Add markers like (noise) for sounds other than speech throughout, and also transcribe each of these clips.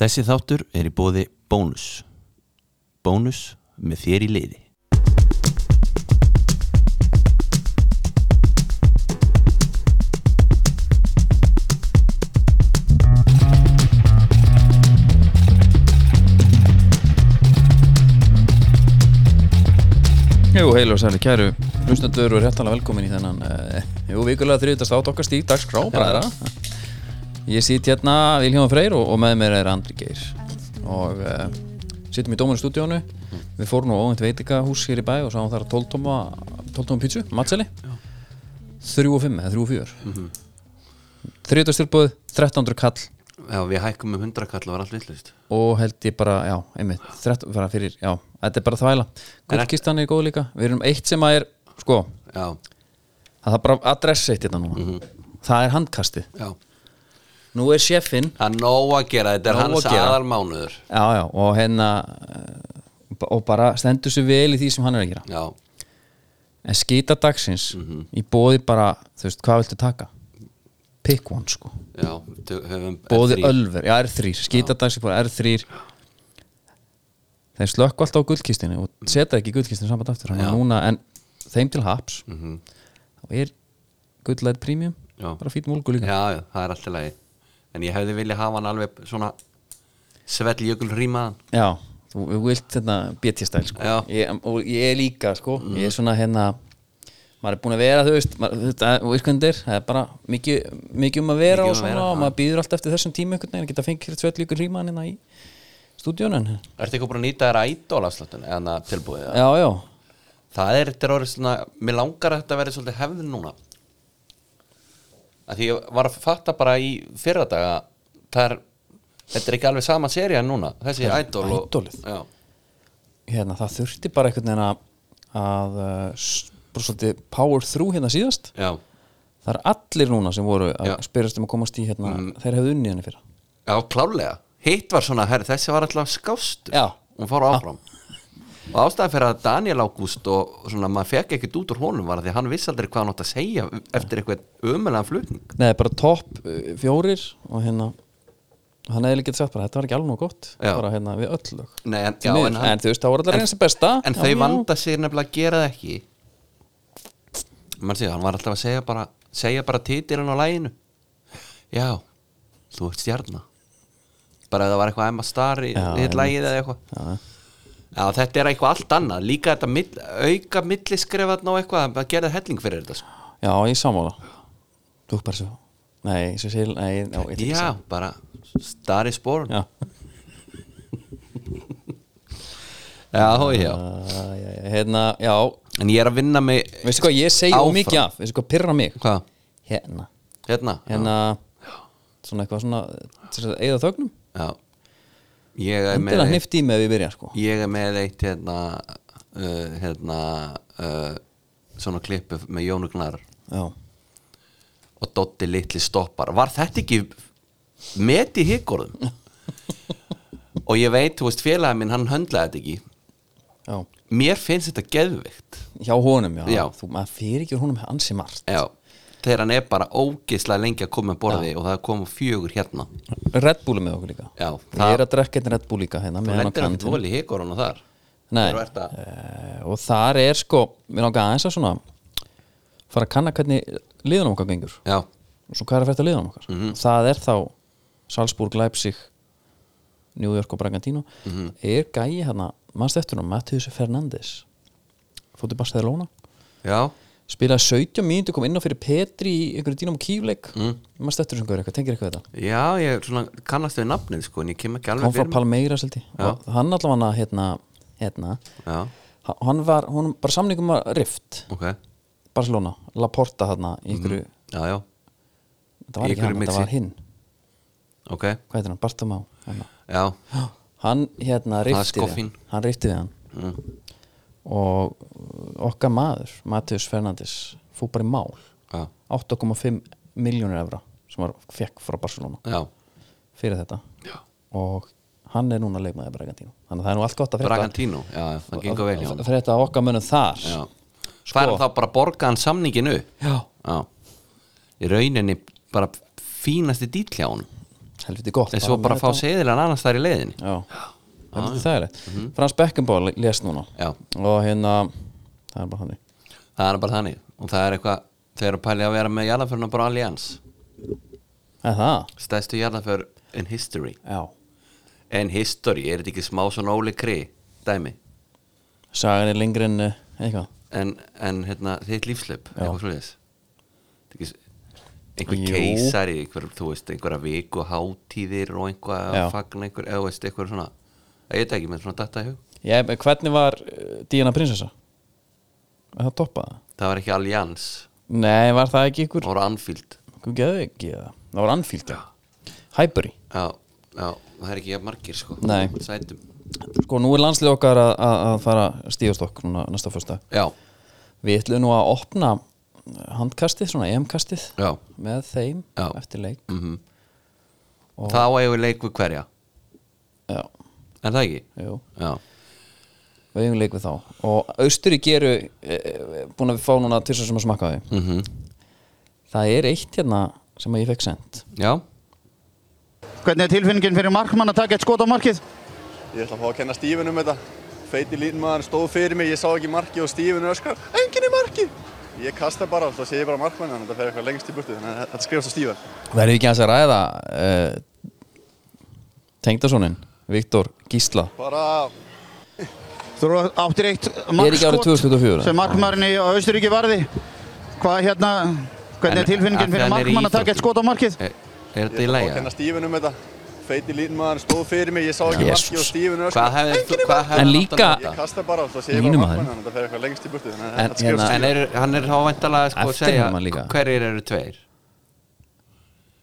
Þessi þáttur er í bóði Bónus Bónus með þér í liði Jú, heil og sæli, kæru hlustendur og réttalega velkomin í þennan uh, Jú, vikulega þriðutast átt okkar stík dagskrá, bræðra Ég sýt hérna Vilhjóðan Freyr og, og með mér er Andri Geir og uh, sittum í Dómurinn stúdíónu Við fórum nú á óvænt veitingahús hér í bæ og sáum þar 12 tóma 12 tóma pítsu, matseli 3 og 5 eða 3 og 4 mm -hmm. tilbúð 1300 kall Já, við hækkum með hundrakall og var allt vittlust og held ég bara, já, einmitt 13 bara fyrir, já, þetta er bara þvæla Gullkistan er góð líka, við erum eitt sem að er sko, Já, það er bara adress eitt hérna núna það er handkastið já nú er sjefinn Það er nóg að gera, þetta er Nóg að hans gera. aðalmánuður já, já, og hérna eh, og bara stendur sér vel í því sem hann er að gera Já, en skýta dagsins í bóði bara, þú veist, hvað viltu taka pick one sko já, þau höfum bóði þrír. ölver, já R3 skýta dagsins bara R3 þeir slökku alltaf á gullkistinu og setja ekki gullkistinu samband aftur þannig Mm. Já. að Mhm. núna, en þeim til haps þá er gullæð premium Já. bara fýtt múlgu líka Já, já, það er allt í lagi En ég hefði viljað hafa hann alveg svona svelljökul rýmaðan Já, þú þú vilt hérna BT-stæl sko. Já. Mhm. ég, og ég er líka sko. ég er svona hérna maður er búin að vera þú veist maður, þetta, og ískundir, það er bara mikið, mikið um að vera og Mikið um að svona vera, og maður býður alltaf eftir þessum tíma einhvern veginn að geta fengið tveit líkur rímanina hérna í stúdíónun já, Ertu eitthvað búin að nýta þér að ídóla slöttun eða tilbúið? Ja. já, Það er þetta er orðið svona, mér langar að þetta verið svolítið hefðin núna að því ég var að fatta bara í fyrradaga það er, þetta er ekki alveg sama seria núna, þessi ædól og- Idolið. Já, hérna það þurfti bara einhvern veginn að að uh, s- bara svolítið power through hérna síðast já, það er allir núna sem voru að Já. Mm. spyrjast um að komast í hérna, þeir hefðu unnið henni fyrir já, klálega Hitt var svona, herri, þessi var alltaf skást Já. hún fór áfram og ástæðan fyrir að Daniel Ágúst og svona, maður fekk ekkert út úr honum var að því að hann vissi aldrei hvað hann átt að segja eftir eitthvað ömulegan flutning Nei, bara topp uh, fjórir og hérna og hann hefði líka sagt bara, þetta var ekki alveg nóg gott Já. bara hérna við öll lög Nei, en, Því miður. en, þú veist, það voru allar eins og besta En þau vanda sig nefnilega að gera það ekki Man sé, hann var alltaf að segja bara segja bara titilin á læginu Já, þú ert stjarnar bara ef það var eitthvað Emma Starr í Já, hitt lægið eða eitthvað Já. Já, þetta er eitthvað allt annað líka þetta mill, auka milliskrefað og eitthvað, það gerði helling fyrir þetta sko. Já, ég sammála Þú bara svo Nei, svo sél, nei, já, ég ætla ekki að Já, segja. bara Starr í spórun Já, Já, já, já Uh, já, já, hérna, já En ég er að vinna mig Veistu hvað, ég segi Áfram. of mikið af Veistu hvað, pyrra mig Hvað? Hérna, Hérna? hérna Svona eitthvað svona, til þess að eigða þögnum Já Ég er með Endilega hnifti í mig ef ég byrja, sko Ég er með eitt hérna uh, hérna uh, svona klippu með Jónu Gnar Já, og Dotti litli stoppar Var þetta ekki met í higgorðum? (laughs) og ég veit, þú veist, félagin minn hann höndlaði þetta ekki já Mér finnst þetta geðvikt Hjá honum, já, Já. Þú, maður fyrir ekki honum ansi margt Já Þegar hann er bara ógeðslega lengi að koma að borði og það kom fjögur hérna Red Bull er með okkur líka Já, Ég það- er að drekka einn Red Bull líka hérna Þú með hann á lendir hann kantinum. tól í higgorðuna þar Nei, Þegar þú ert að- eh, og þar er sko mér langar aðeins að svona fara að kanna hvernig liðunum okkar gengur Já, og svo hvað er að fætta liðunum okkar Mhm. það er þá Salzburg, Leipzig New York og Bragantino Mhm. er gæi hérna, mannst eftir hann Matthews Fernandes fótið Barcelona já, spilaði 17 mínútur, kom inn á fyrir Petri í einhverju dýnum kýfleik Mhm. mm. mannst eftir sem gaur eitthvað, tengir eitthvað við þetta já, ég er svona kannast við nafnið sko en ég kem ekki kom alveg frá fyrir Palmeiras held ég og hann allavega hérna, hérna Já, ha- hann var, hún bara samningum var rift ok, Barcelona, La Porta hérna í ykkur, já, já þetta var Mhm. í ekki hann, einhverju þetta var mixi. hinn Ok, hvað heitir hann, Bartomá hérna. já, hann hérna er rifti við hann skoffín. Mm. hann rifti við hann og okkar maður, Matheus Fernandes fór bara í mál já, 8,5 miljónir evra sem var fekk frá Barcelona já, fyrir þetta já. og hann er núna leikmaði Bragantino þannig að það er nú allt gott að frétta Bragantino, já, það gengur vel hjá honum. frétta af okkar mönnum þar Já, Sko- það er þá bara að borga hann samninginu Já. Já, í rauninni bara fínasti dýll hjá hann helviti gott en svo bara með fá þetta. seðilan annars þar í leiðinni Já, helviti þægilegt Mhm. Frans Beckenbauer lést núna já, og hérna, það er bara þannig það er bara þannig og það er eitthvað, þeir eru að pæli að vera með jarðaförna bara allians, Er það? stæðstu jarðaför in history, Já in history er þetta ekki smá svona óli kri, dæmi Sagan er lengri en eh, eitthvað en, en hérna, þitt lífslaup eitthvað svoleiðis Þetta ekki s- einhver Jú. keisari, einhver, þú veist, einhverja viku hátíðir og Já. einhvað að fagna einhver, eða þú veist, einhver svona ég veit ekki, menn svona datta í hug Ég, hvernig var eh, Díana prinsessa? Er það toppaða? það var ekki Allianz, Nei, var það ekki ykkur það voru Anfield Hvað geðu ekki það? Það var Anfield Hæburi já, já, það er ekki jafn margir sko Nei. sætum, Sko, nú er landslið okkar að, að, að fara stíðastokk núna næsta fyrsta já, Við ætlum nú að opna eh, handkastið, svona EM-kastið já með þeim Já. eftir leik mm -hmm. Og- þá eigum við leik við hverja Já, er það ekki? jú já, Við eigum leik við þá Og Austuríki eru e, e, búin að fá núna tvisar sem að smakka á því mm Það er eitt hérna sem að ég fekk sendt já Hvernig er tilfinningin fyrir markmann að taka eitt skot á markið? Ég ætla að fá að kenna Stífin um þetta. Feiti línmaður stóð fyrir mig, ég sá ekki markið og Stífin öskar, enginn er markið! Ég kasta bara, þá sé ég bara markmann, þannig að þetta fer eitthvað lengst í burtu, þannig að þetta skrifast á Stífin. Verður ekki aðeins að ræða uh, Tengdasónin, Viktor Gísla Bara, Þú áttir eitt Er ekki árið markskot 2024? sem markmann í Austuríki varði. Hvað hérna, En- hvernig er tilfinningin af því fyrir hann er í markmann að taka eitt skot á markið? er, er þetta í ég ætla að fá að lægja? kenna Stífin um þetta. Feiti línmaður stóð fyrir mig, ég sá ekki Jesus. markið og Stífin öskar, Hvað hefði, hvað hefði En hann líka- átt að nota? Ég kasta bara, þá sé ég bara Línumaður. markmann, þannig að þetta fer eitthvað lengst í burtu, þannig að En þetta skrifast á hérna- Stífin. En er, hann er þá vantalega sko, að Eftir segja hann líka. hverjir eru tveir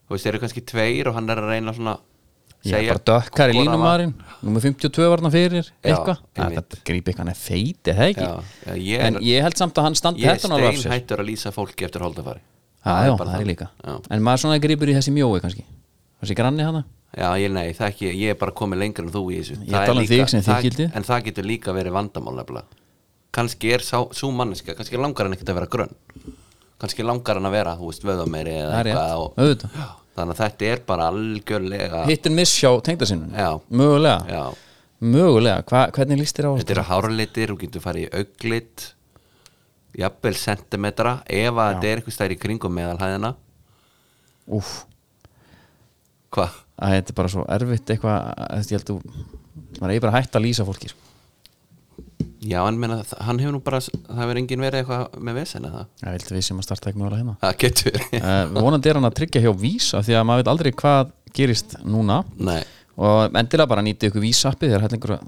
Þú veist, eru kannski tveir og hann er að reyna svona Ég er bara dökkar í hvor það var. línumarinn Númer 52 var hann fyrir Já, Eitthvað Það einmitt. þetta grípi eitthvað hann er feiti, er það ekki? Já, já, ég En er, ég held samt að hann standi ég er þetta nála af sér steinhættur að lýsa fólki eftir holdafari Já, já, bara það er þannig. líka Já, En maður svona grípur í þessi mjói kannski Þessi granni hana já ég, nei, það ekki, ég er bara komið lengur en þú í þessu Ég Það er tala um líka- þig sem það- þykildi. En það getur líka verið vandamál nefnilega Kannski er sá, svo manneska, kannski langar hann ekkert að vera grönn Kannski langar hann að vera, þú veist, vöðameiri eða Það er eitthvað rétt, og, auðvitað Já, Þannig að þetta er bara algjörlega Hitt en miss hjá tengdasinnun Já. Mögulega Já Mögulega, Hva, hvernig líst þér á Þetta eru háralitir, þú getur farið í auglit jafnvel sentimetra ef að þetta er eitthvað stær í kringum meðalhæðina Úf, Hvað? að þetta er bara svo erfitt eitthvað að- Ég held að maður eigi bara að hætta að lýsa fólki sko. Já, hann meina, þa- hann hefur nú bara það hefur enginn verið eitthvað með vesen eða það Það vildi við sem að starta ekki mögulega hérna Það getur uh, Vonandi er hann að tryggja hjá vísa Því að maður veit aldrei hvað gerist núna Nei, Og endilega bara nýtið ykkur vísappi Þegar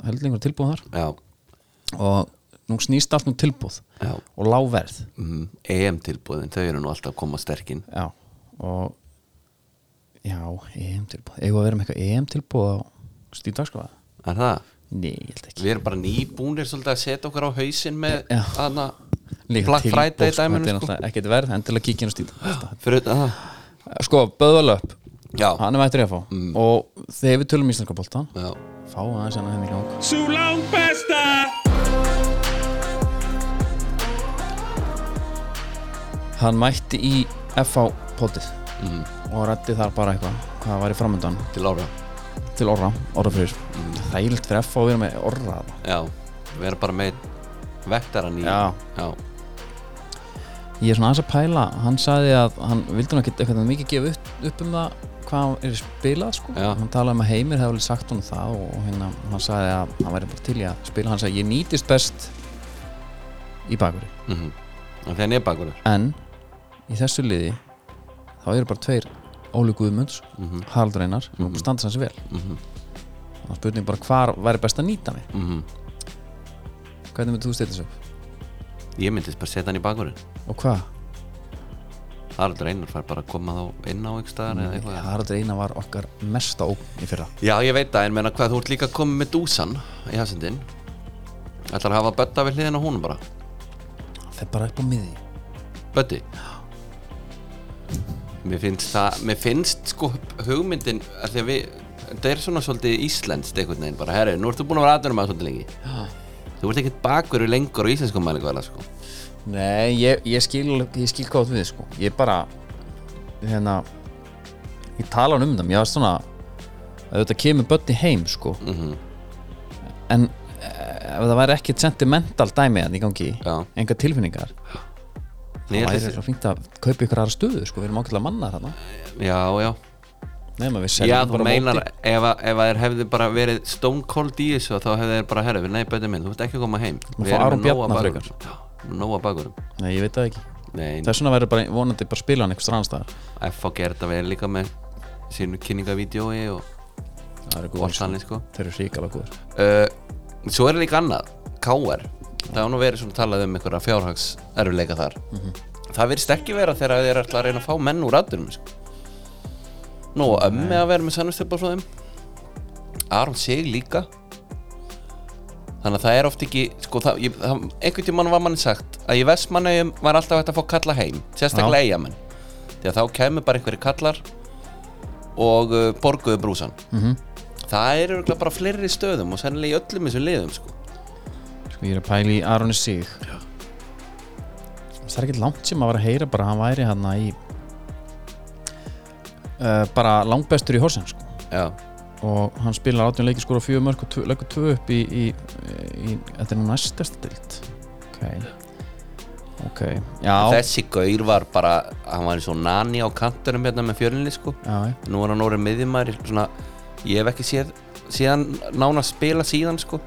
heldingur tilbúð þar já, Og nú snýst allt um tilbúð já Og láverð mm, EM tilbúðin, þau eru nú alltaf að koma sterkin Já, og Já, EM tilbúð Eigum við að vera með eitthvað EM tilbúð á stíðdagskofa? Er það? Nei, ég held ekki Við erum bara nýbúnir svolítið að setja okkur á hausinn með Já. hana Líka Black tilboð, Friday sko, Þetta dæminu er sko. náttúrulega ekkert verð, endilega kíkja inn á stíð Fyrir utan það Sko, Böðvalöp, Já, hann er mættur í að fá Mm. Og þegar við tölum íslenska boltan já Fá aðeins hann að henni í gang Sú langt besta hann mætti í FH potið og rætti þar bara eitthvað hvað var í framöndan Til ára til orra, orra fyrir þægilt fyrir FH að vera með orra þarna. Já, við erum bara með vektaran í Já. já. ég er svona aðeins að pæla, hann sagði að hann vildi hann ekki eitthvað mikið gefa upp, upp um það hvað hann er spilað sko Já. hann talaði um að Heimir hefði alveg sagt hann það og hérna, hann sagði að hann væri bara til í að spila hann sagði ég nýtist best í bakveri mm En þegar nefnbakur en í þessu liði þá eru bara tveir Óli Guðmunds, mm -hmm. Haraldur Einar mm -hmm. og standa hans vel mm -hmm. og spurning bara hvar væri best að nýta mig mm hvernig myndir þú steyta þessu upp Ég myndist bara setja hann í bakurinn og hvað? Haraldur Einar fær bara að koma þá inn á ykkur staðar eða eitthvað Haraldur Einar var okkar mesta ógn í fyrra Já, ég veit það, en menna hvað þú ert líka komið með dúsan í hafsendin Ætlar að hafa Bötta við hliðin á húnum bara það er bara upp á miði Bötti Mér finnst það, mér finnst sko hugmyndin að því að við þetta er svona svolítið íslenskt einhvern veginn bara herri, nú ertu búin að vera aðdurum að svolítið lengi Já. Þú ert ekkert bakverju lengur á íslenskum mælikvæla sko Nei, ég, ég, skil, ég skil hvað þú átt við sko. ég bara hérna ég tala hann um það, mér var svona auðvitað kemur börni heim sko Mhm. en eh, ef það væri ekkit sentimental dæmi hann í gangi, Já. enga tilfinningar Nei, það væri þessi- svo fínt að kaupa ykkur aðra stöðu sko, við erum ákveðlega mannar þarna já, já nema við seljum Já, þú bara meinar móti. ef, að- ef að þeir hefði bara verið stone cold í þessu þá hefði þeir bara herfið, nei betur minn, þú ert ekki að koma heim Má Við fá erum Aron með nóg af Bjarna bakurum. Já, við erum Nóa bakurum Nei, ég veit það ekki Nei, Þess vegna verður bara vonandi bara spila hann eitthvað strandstæðar FH gerði þetta vel líka með sínu kynningavídjói og Það eru og allt góður sko. þannig sko Þeir eru ríkala góður uh, Svo er líka annað, KR Það hafa nú verið svona talað um einhverja fjárhags erfileika þar Það virðist ekki vera þegar þeir ætla að reyna að fá menn úr aðdurum sko. Nú, ömmi að vera með sannustepa frá þeim Aron Sig líka Þannig að það er oft ekki sko, það, ég, það, einhvern tímann var manni sagt að í Vestmannaugum var alltaf hægt að fá kalla heim sérstaklega eigamenn því að þá kemur bara einhverju kallar og uh, borguðu brúsan Það eru örugglega bara fleiri stöðum og sennilega í öllum þessum liðum sko. Sko ég er að pæla í Aroni Sig Það er ekkert langt sem að vera að heyra bara að hann væri hann í uh, bara langbestur í Horsens sko. Já, og hann spilar átjón leiki skora fjögur mörg og tvö- leggur tvö upp í, í, í þetta er nú næstast dild ok ok, já þessi gaur var bara hann var eins og nani á kantunum hérna með fjölinni sko. já, já. Nú er hann orðið miðjumæri svona, ég hef ekki séð síðan nána spila síðan sko.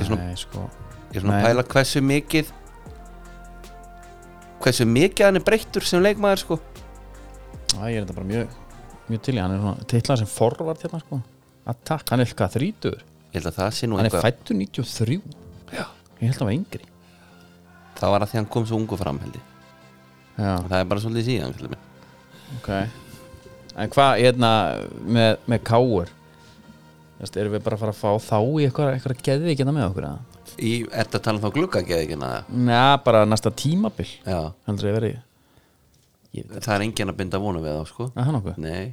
er svona- nei, sko Ég er svona að Nei. pæla hversu mikið hversu mikið hann er breyttur sem leikmaður sko. Æ, ég er þetta bara mjög, mjög til í hann er svona teitlað sem forvart hérna sko Attack, hann er eitthvað þrítur Ég held að það sé nú hann er eitthvað fættur 93 já. ég held að hann var yngri Það var að því hann kom svo ungu fram held ég já, Það er bara svolítið síðan kallið minn ok en hvað, hérna, með, með káur Þess, erum við bara að fara að fá þá í eitthvað, eitthvað geðið ekki hérna með okkur að Í, ertu að tala um þá gluggageðikina? Næ, bara næsta tímabil Já, heldur ég verið ég veit það er enginn að binda vonu við þá sko að hann okkur Nei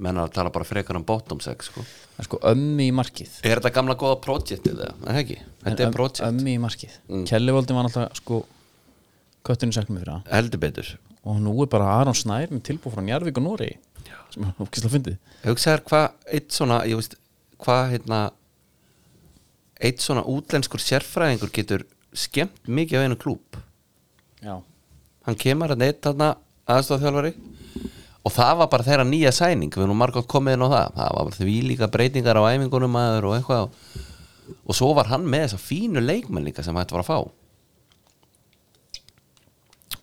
menn að tala bara frekar um bottom sex sko. en sko ömmi í markið Er þetta gamla góða projektið það? Nei, ekki, þetta En er öm- projekt ömmi í markið mm. Kellivoldi var alltaf sko köttinu sæknum fyrir það Heldur betur og nú er bara Aron Snær með tilbúið frá Njarvík og Nóri sem er ókislega fyndið Hugsaður hvað eitt svona ég veist, hvað hérna eitt svona útlenskur sérfræðingur getur skemmt mikið á einu klúb já. hann kemur að neitt þarna aðstofþjálfari og það var bara þeirra nýja sæning við erum margótt komið inn á það það var bara því líka breytingar á æfingunum aður og eitthvað og svo var hann með þessa fínu leikmenn líka sem hægt var að fá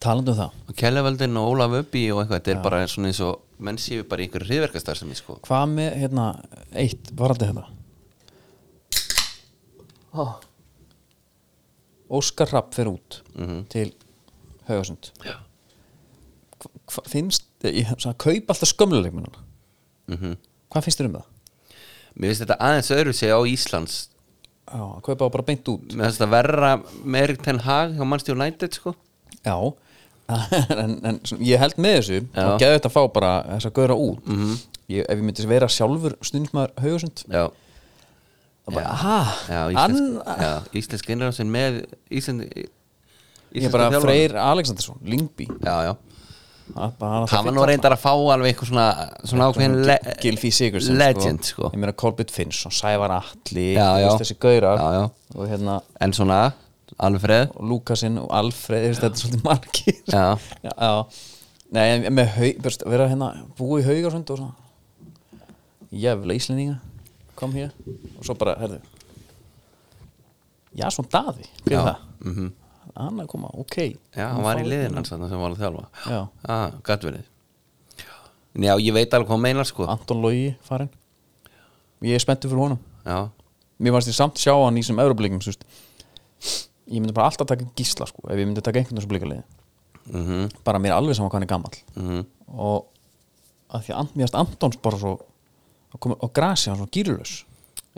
talandi um það, og Kjellevöldin og Ólaf Öbbi og eitthvað þetta er bara svona eins og menn séu bara í einhverju hriðverkastar sem ég sko hvað með hérna, eitt, varandi hérna oh. Óskar Rapp fer út Mhm. til Haugasund Já. Hva- hva- finnst, ég sagði, kaupa alltaf skömmluleikmennuna Mhm. hvað finnst þér um það? mér finnst þetta aðeins öðru sig á Íslands Já, að kaupa þá bara beint út mér finnst þetta verra Merik Ten Hag hjá Manchester United sko Já (laughs) en, en svona, ég held með þessu Já. Mhm. og geði þetta að fá bara þess að gauðra út -hmm. ég, ef ég myndi vera sjálfur stundismæður haugasund já, þá bara, aha, já, ann- íslensk, já, íslensk innrásin með Ísland, ég er bara Freyr Alexandersson, Lingby já, já það hann var nú reyndar að fá alveg eitthvað svona, svona ákveðin le Gilfi Sigurðsson legend sko. ég meina Kolbjörn Finnsson, Sævar Atli Já, þú já. veist, þessi gaurar Já, já. og hérna en svona Alfred og Lukasinn og Alfred þú veist, þetta er svolítið margir Já. já, já. Nei, en með hau, best, vera hérna búið í haugasund og svona jæfla íslendinga kom hér og svo bara, herðu já, svona daði fyrir Já, mhm. það mm -hmm. hann er að koma, ok já, hann var í liðin hans þarna sem var að þjálfa Já. ah, gæt verið já, ég veit alveg hvað hann meinar sko Anton Logi farinn ég er spenntur fyrir honum já, mér varst ég samt sjá hann í sem euroblikum þú veist. ég myndi bara alltaf taka gísla sko, ef ég myndi taka einhvern þessu blikaliði -hmm. bara mér er alveg saman hvað hann er gamall -hmm. og að því að Ant- mér varst Antons bara svo og, kom, og grasi hann svo gýrlös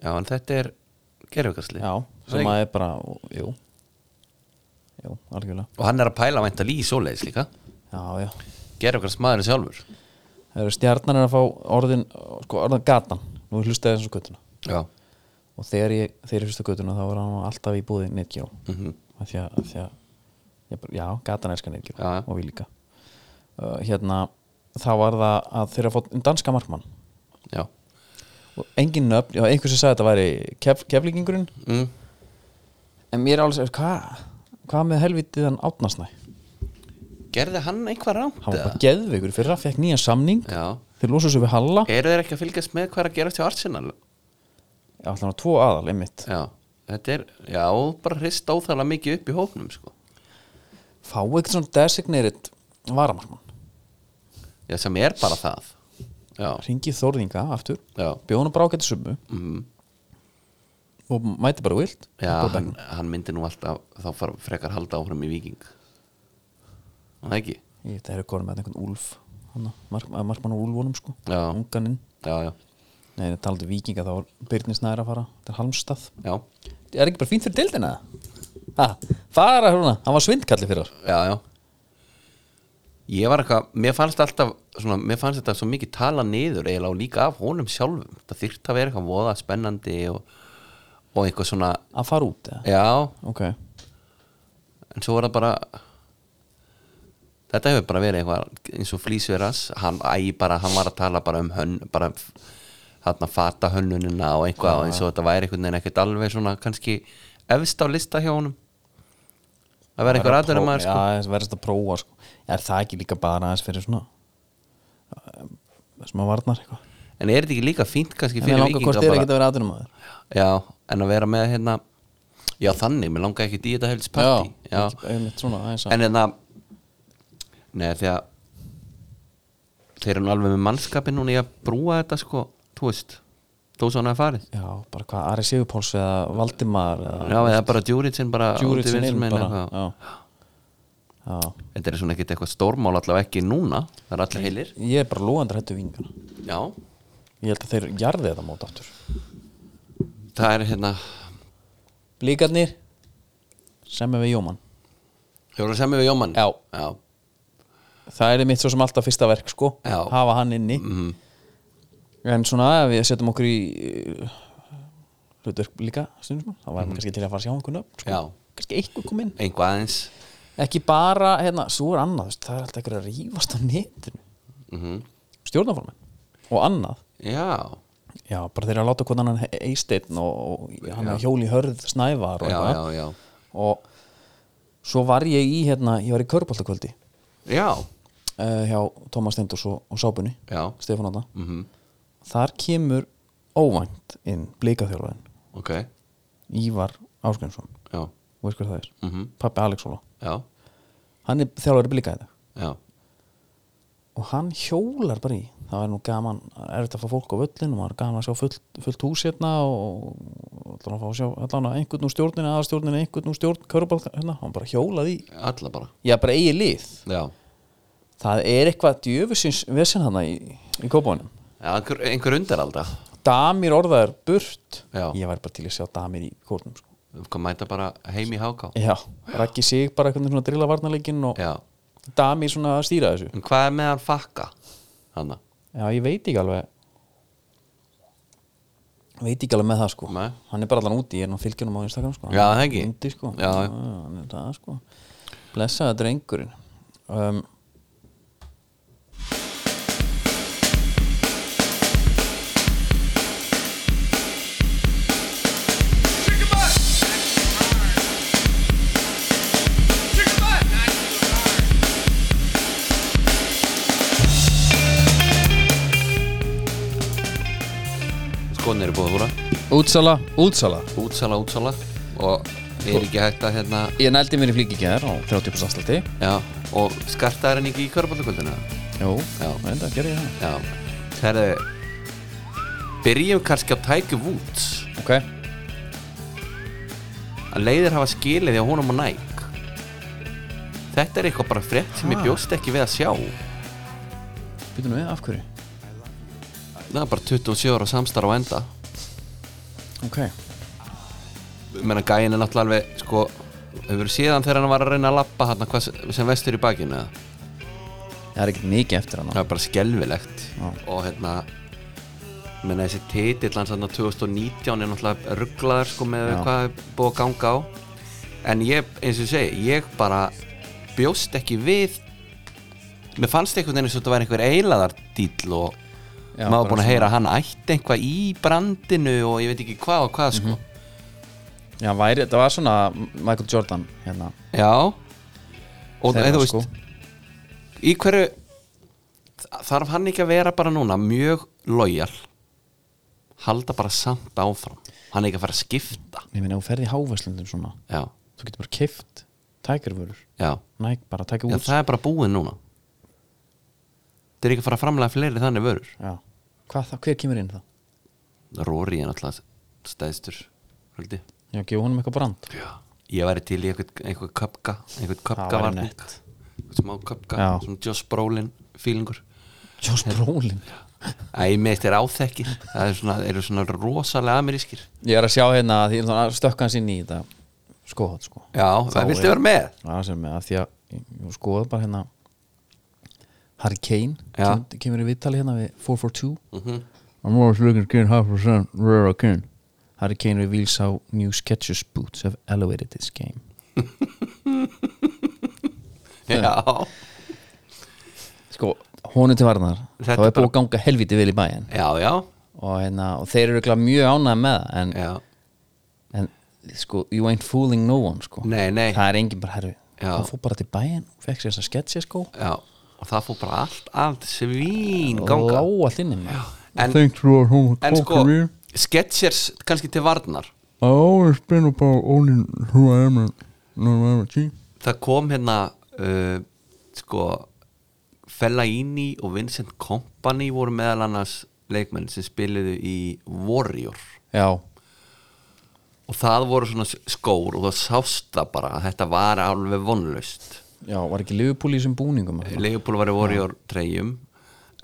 já, en þetta er gerfugastli já, sem að er bara og, jú jú, algjörlega og hann er að pæla vænta lí svoleiðis líka já, já, gerfugast maðurinn sjálfur það eru stjarnan er að fá orðin sko, orðin gatan, nú hlustaði þessu göttuna já, og þegar ég, þegar ég fyrsta göttuna þá var hann alltaf í búði Netgjó mm -hmm. af því að, af því að ég, bara- já, gatan elskar Netgjó Já, já. og við líka uh, hérna þá var það að þeirra fótt um danska markmann já, og engin nöfn, já, einhver sem sagði að þetta væri kef, keflingingurinn mm. en mér er alveg sér, hvað hvað með helvitið hann átnasnæ hann gerði hann einhvað rámt var eða? bara geðveikur í fyrra, fekk nýjan samning Já. þeir lósa svo við Halla eru þeir ekki að fylgjast með hvað er að gera til Arsenal já, hann var tvo aðal, einmitt já, þetta er, já, bara hrist óþæðlega mikið upp í hóknum sko. fá ekkert svona designated varamarkmann, já, sem er bara það já, ringi Þórðinga aftur, já, bjóðan bara ágæti summu mm. og mæti bara vilt já hann, hann myndi nú alltaf þá fara frekar halda áfram í Viking það ekki þetta er konum með einhvern Úlf hana, mark, að markmann á Úlfunum sko, Já. unganinn já, já, Nei, það talaðu vikinga þá er Byrnis næra að fara til Halmstað já, Það er ekki bara fínt fyrir deildina ha, Fara hérna, hann var svindkalli fyrir þar já, já. ég var eitthvað mér fannst alltaf, svona, mér fannst þetta svo mikið tala niður eiginlega og líka af honum sjálfum það þyrfti að vera eitthvað voða spennandi og, og eitthvað svona Að fara út eða? já, Ok, en svo var það bara þetta hefur bara verið eitthvað eins og flýsveras hann, æ, bara, hann var að tala bara um hönn bara þarna fata hönnunina og eitthvað og eins og þetta væri einhvern veginn ekkert alveg svona kannski efst á lista hjá honum að vera eitthvað aðurum maður sko. sko. Já, verðist að prófa sko. Já, Er það ekki líka bara aðeins fyrir svona um, sem að varnar eitthvað en er þetta ekki líka fínt kannski En ég fyrir langa hvort vikinga þeir bara, ekki að vera aðurum maður já, en að vera með hérna já þannig, mér langar ekki í þetta helst partí ekki- einmitt svona aðeins að en hérna neða því að þeir eru nú alveg með mannskapin núna í að brúa þetta sko, þú veist þó svo hann hafi farið Já, bara hvað, Ari Sigurpáls eða Valdimar eða já, eða bara djúritsinn bara Djúric út í sinn vinstri inn megin bara eitthvað. Já, já. þetta er svona ekkit eitthvað stórmál allavega ekki núna það er allir heilir Ég er bara lóðandur hættu vingana já, Ég held að þeir jarði þetta mót aftur það er hérna Blíkarnir sem er við Jóman þau eru sem við Jómann Já. já, Það er mitt svo sem alltaf fyrsta verk sko Já. hafa hann inni Mhm. en svona ef við setjum okkur í uh, hlutverk líka stundum, þá væri mm. kannski til að fara að sjá einhver nöfn sko. Mhm. já. kannski einhver kom inn einhvað aðeins ekki bara, hérna, svo er annað þú veist, það er alltaf einhver að rífast á netinu mm stjórnaformen og annað já, Já, bara þeir eru að láta hvernig hann he- eisteinn og, og hann er hjóli hörð snævar og, já, já, eitthvað. já og svo var ég í hérna, ég var í körbóltakvöldi já, uh, hjá Tómas Steindors og, og Sábunni Já. Stefán Átna Mhm. þar kemur óvænt inn blikaþjálfarinn ok Ívar Áskjönsson já, og veist hver það er, Mhm. pappi Alex Óla já, hann er þjálfari blika í dag já, og hann hjólar bara í það er nú gaman, er þetta að fá fólk á völlin og maður er gaman að sjá fullt, fullt hús hérna og og allan að fá að sjá allan að einhvern úr stjórnina, aðstjórnina, einhvern úr stjórn körbál, hérna, hann bara hjólað í alla bara já, bara eigi lið, já, það er eitthvað djöfusins vesen hann í, í kópánum já einhver, einhver undiralda Damir orðaður burt Já. ég væri bara til að sjá Damir í kórnum sko. Kom mæta bara heim í háká já, Raggi sig bara einhvern veginn svona drilla varnarleikin og Já, Damir svona að stýra þessu en hvað er með hann fakka? Hanna, já, ég veit ekki alveg veit ekki alveg með það sko Nei. hann er bara allan úti, ég er nú fylgjunum á Instagram sko. Já, það ekki. úti, sko. Já, já. hann er það sko blessaða drengurinn um, skoðin eru búið að húra útsala, útsala Útsala, útsala Og er ekki hægt að hérna ég nældi mér í flíkikjær á 30% afsluti Já, og skartaði hann ekki í körbállakvöldinu jú, Já. þetta gerði ég Já, herðu Byrjum kannski á Tiger Woods það ok, Að leiðir hafa skilið því að honum og Nike Þetta er eitthvað bara frétt sem ég bjóst ekki við að sjá býtum við, af hverju Það er bara 27 ára samstarf á enda ok, menna gæin er náttúrulega alveg sko, hefur síðan þegar hann var að reyna að lappa hann hvað sem- sem vestur í bakinu eða? það er ekkert mikið eftir hann það er bara skelvilegt og hérna menna þessi titill hans hann 2019 er náttúrulega rugglaður sko með Já. hvað er búið að ganga á en ég, eins og ég segi, ég bara bjóst ekki við mér fannst einhvern veginn eins og þetta væri einhver eilaðardýll og Já, maður bara búin að svona- heyra að hann ætti eitthvað í brandinu og ég veit ekki hvað og hvað Mhm. sko Já, væri, þetta var svona Michael Jordan hérna já og þeirra, eða þú veist sko. í hverju þarf hann ekki að vera bara núna mjög lojal halda bara samt áfram hann er ekki að fara að skipta Ég meina, ef þú ferði í hávæslundum svona já, Þú getur bara kift, tækirvörur já, Næk bara, tækir já út það er bara búið núna það er ekki að fara að framlega fleiri þannig vörur Já. Hvað það, hver kemur inn það? Rory er náttúrulega stæðstur höldi Já, gefa honum eitthvað brand já. ég væri til í einhvern einhver köpka einhvern köpka væri varning nett. einhvern smá köpka, Já. svona Josh Brolin fílingur Josh Brolin Æ, með þetta er áþekkir það er svona, eru svona rosalega amerískir Ég er að sjá hérna að því ég er að stökka hans inn í þetta Skoðað, sko Já, Þá það viltu er- vera með Já, sem er að því að ég- ég skoðað bara hérna Harry Kane Já. kem- kemur í viðtali hérna við 442 Mhm. I'm always looking to get half percent rare again Harry Kane reveals how new Skechers boots have elevated this game Já, Sko, honum til varnar Þetta þá er er búið bara- að ganga helviti vel í bæinn já, já, og, hérna, og þeir eru örugglega mjög ánægð með það en, já. en sko, you ain't fooling no one sko. Nei, nei, það er engin bara herru Já. hann fór bara til bæinn, fekk sér þess að sketsja sko já Og það fór bara allt, allt svín og ganga lá allt inni með En, Thanks for home en sko, talking to me. sketchers kannski til varnar I always been about owning who I am and no matter what you. Það kom hérna, uh, sko Fellaini og Vincent Kompany voru meðal annars leikmenn sem spiluðu í Warrior já, og það voru svona s- skór og það sást það bara að þetta var alveg vonlaust já, var ekki Liverpool í þessum búningum þarna? Leifupúl var í Warrior treyjum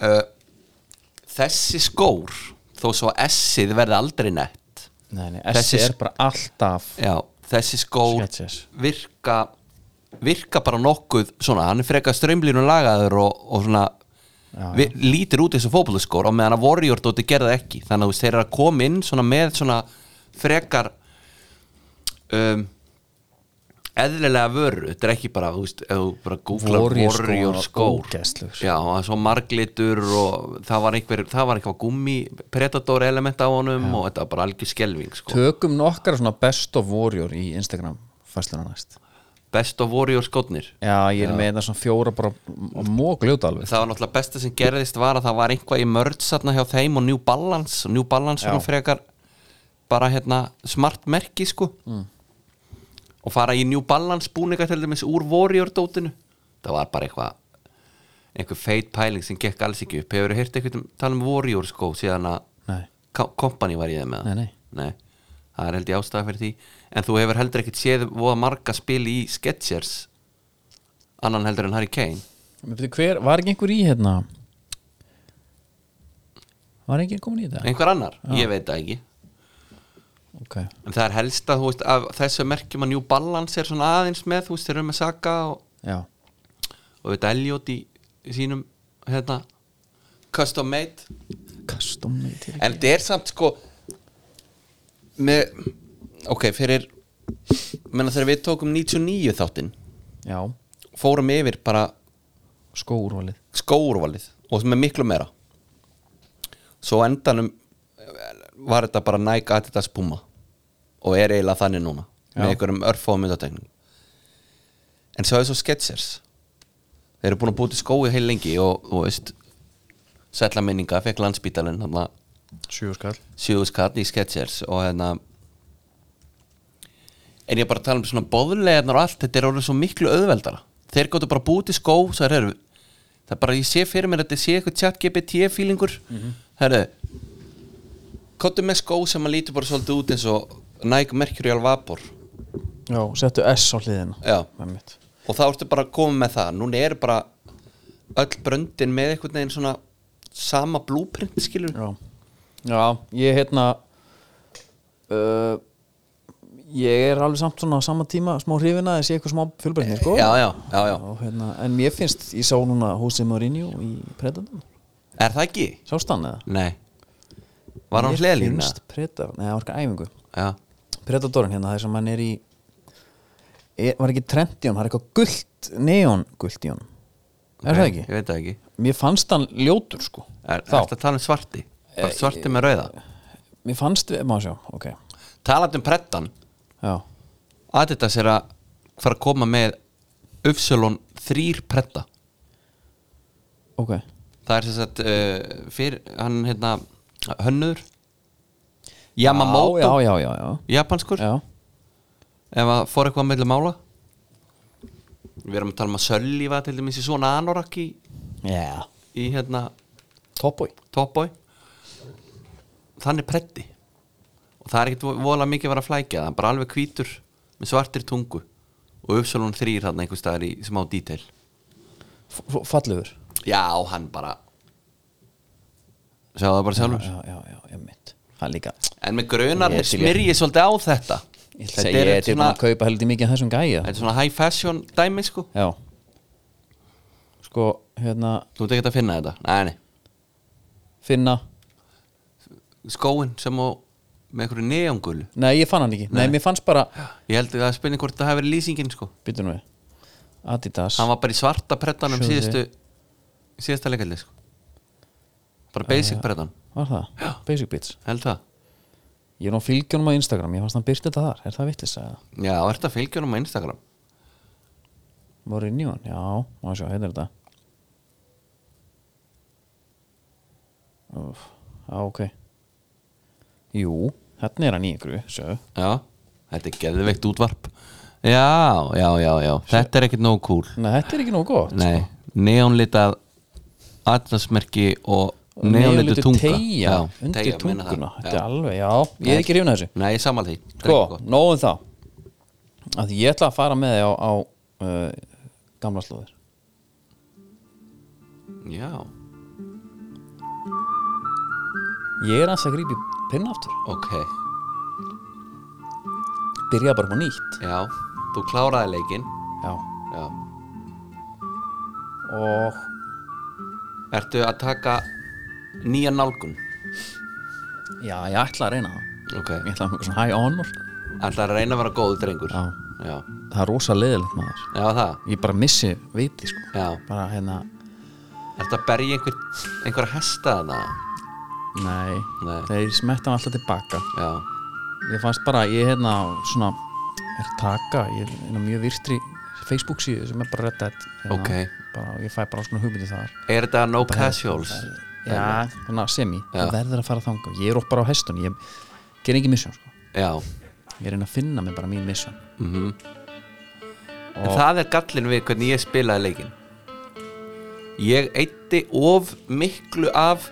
uh, Þessi skór þó svo S-ið verði aldrei nett nei, nei, Þessi þessi s- er bara alltaf Já, þessi skór Sketches. virka virka bara nokkuð svona, hann er frekar strömlínu lagaður og, og svona við, lítir út þessu fótboltaskór og meðan að Warrior dóti gerði ekki þannig að þú veist, þeir eru að koma inn svona með svona frekar um eðlilega vöru, þetta er ekki bara þú veist, ef þú bara googlar Warrior skór Warrior var skór ógeðslegur. Já, og það er svo marglitur og það var einhver, það var eitthvað gummi predator element á honum og þetta var bara algjör skelving sko. tökum nokkar svona best of warrior í Instagram fæsluna næst best of warrior skotnir já, ég er með þetta svona fjóra bara mógljóta alveg það var náttúrulega besta sem gerðist var að það var einhvað í mörds hjá þeim og New Balance og New Balance var nú frekar bara hérna smart merki sko og fara í New Balance búninga til dæmis úr Warrior dótinu það var bara eitthvað einhver feit pæling sem gekk alls ekki upp hefur þú heyrt eitthvað um, tala um Warrior sko síðan að Nei. Ko- Company var í þeim með Nei, nei. það er held ég ástæða fyrir því en þú hefur heldur ekkit séð voða marga spil í Skechers annan heldur en Harry Kane Men byrju, hver, var ekki einhver í hérna var ekki komin í þetta einhver annar, ég veit það ekki ok, en það er helst að þú veist af þessu merkjum að New Balance er svona aðeins með þú veist þeir eru með Saka og, já, og þetta Elliot í, í sínum hérna custom made custom made til en þetta er samt sko með ok, fyrir menna þegar við tókum 99 þáttinn já, fórum yfir bara skóurvalið skóurvalið og með miklu meira svo á endanum eh, var þetta bara Nike Adidas Puma og er eiginlega þannig núna með einhverjum örfóðum myndatekning en svo er svo Skechers þeir eru búin að búti skói heil lengi og þú veist sætla minninga, fekk landsbítalinn hann að sjöskall sjöðuskall í Skechers og hérna en ég er bara að tala um svona boðlegarnar og allt þetta er orðið svo miklu auðveldara þeir gáttu bara búið til skó svo er, það er bara ég sé fyrir mér að þetta sé eitthvað chat GPT fílingur mm -hmm. herru kóttu með skó sem að lítur bara svolítið út eins og Nike Mercurial Vapor já, settu S á hliðina Já. Einmitt. og þá ertu bara að koma með það núna er bara öll bröndin með einhvern veginn svona sama blúprint skilur já, já ég hérna uh, ég er alveg samt svona á sama tíma, smá hrifina þessi eitthvað smá fjölbreytni, sko já, já, já, já. Og, hérna, en mér finnst, ég sá núna Jose Mourinho í Predator er það ekki? sást hann eða? Nei Var hann Mér hliðalínu? finnst Predator, neða, það var ekki æfingu Já, Predatorin hérna, það sem hann er í e, er, var ekki trend í hann, það er eitthvað gult neon gult í hann Er það ekki? Ég veit það ekki Mér fannst hann ljótur sko Er Þá. Eh, þetta að tala um svarti? Bara svarti með rauða Mér fannst við, má sjá, ok Talandi um prettan Já, Adidas er að fara að koma með Upsilon 3 pretta ok Það er sem sagt uh, fyrir hann hérna hönnur Yamamoto Já, já, já, já, japanskur já. ef að fór eitthvað meðlega mála við erum að tala um að Sölliva til dæmis í svona anorak í, já. í hérna Topboy Topboy þannig pretti og það er ekkit vo- voðalega mikið að vera að flækja það er bara alveg hvítur með svartir tungu og Upsilon 3 þarna einhvers staðar í smá detail Fallegur já, hann bara sjá það bara sjálfur Já, já, já, ég mitt Hann líka en með grunar Ég þeir til í- smyrji svolítið á þetta Ég ætla að þetta segja, er ég er eitt tilbúin svona, að kaupa heldur mikið af þessum gæja þetta er svona high fashion dæmi sko Já Sko, hérna, þú ert ekki að finna þetta nei, nei. finna skóin sem á með einhverju neongulu Nei, ég fann hann ekki Nei, mér fannst bara ég held að spynni hvort það hefur verið lýsingin sko Býtum við Adidas hann var bara í svarta prettanum Sjóði. síðustu síðasta leikaldi sko. bara basic prettan Var það? Já. Basic Beats held það Ég er nú fylgjónum á Instagram Ég fannst hann byrti þetta þar Er það vitlis að já, er þetta fylgjörnum á Instagram Voru inn í hann? Já Má sjá, heitir þetta Úf Já, ok Jú Hérna er hann í ykkur Sjö já, þetta er geðveikt útvarp já, já, já, já þetta er ekkert nóg cool Nei, þetta er ekki nóg gott nei, neonlitað atlasmerki og neonlitu tunga tegja Já, Undir teygja, meina tunguna það. Þetta er Já. alveg, já Ég er ekki hrifin að þessu nei, ég samal því Þetta er Sko, ekki gott. nóðum það að ég ætla að fara með þig á, á uh, gamla slóðir já, ég er aðeins að grípa í pinna aftur ok byrja bara upp á nýtt já, þú kláraði leikinn já. já og Ertu að taka nýja nálgun? já, ég ætla að reyna það Ok ég ætla að hafa svona high honor Ætlar að reyna að vera góðu drengur Já. Já, það er rosa leðilegt maður Já, það ég bara missi viti sko Já bara hérna, Ertu að berja einhver, einhver hesta það? nei, Nei. þeir smetta hann alltaf tilbaka Já ég fannst bara, ég hérna svona, er að taka ég er hérna mjög virtri Facebook síðu sem er bara redd hérna, Ok. bara, ég fæ bara alls konar hugmyndi þar Er þetta no casuals? Já, svona semi, það verður að fara þangað Ég er upp bara á hestun, ég ger ekki misjón sko. Já Ég reyna að finna mig bara mín misjón En það er gallin við hvernig ég spilaði leikinn Ég eitti of miklu af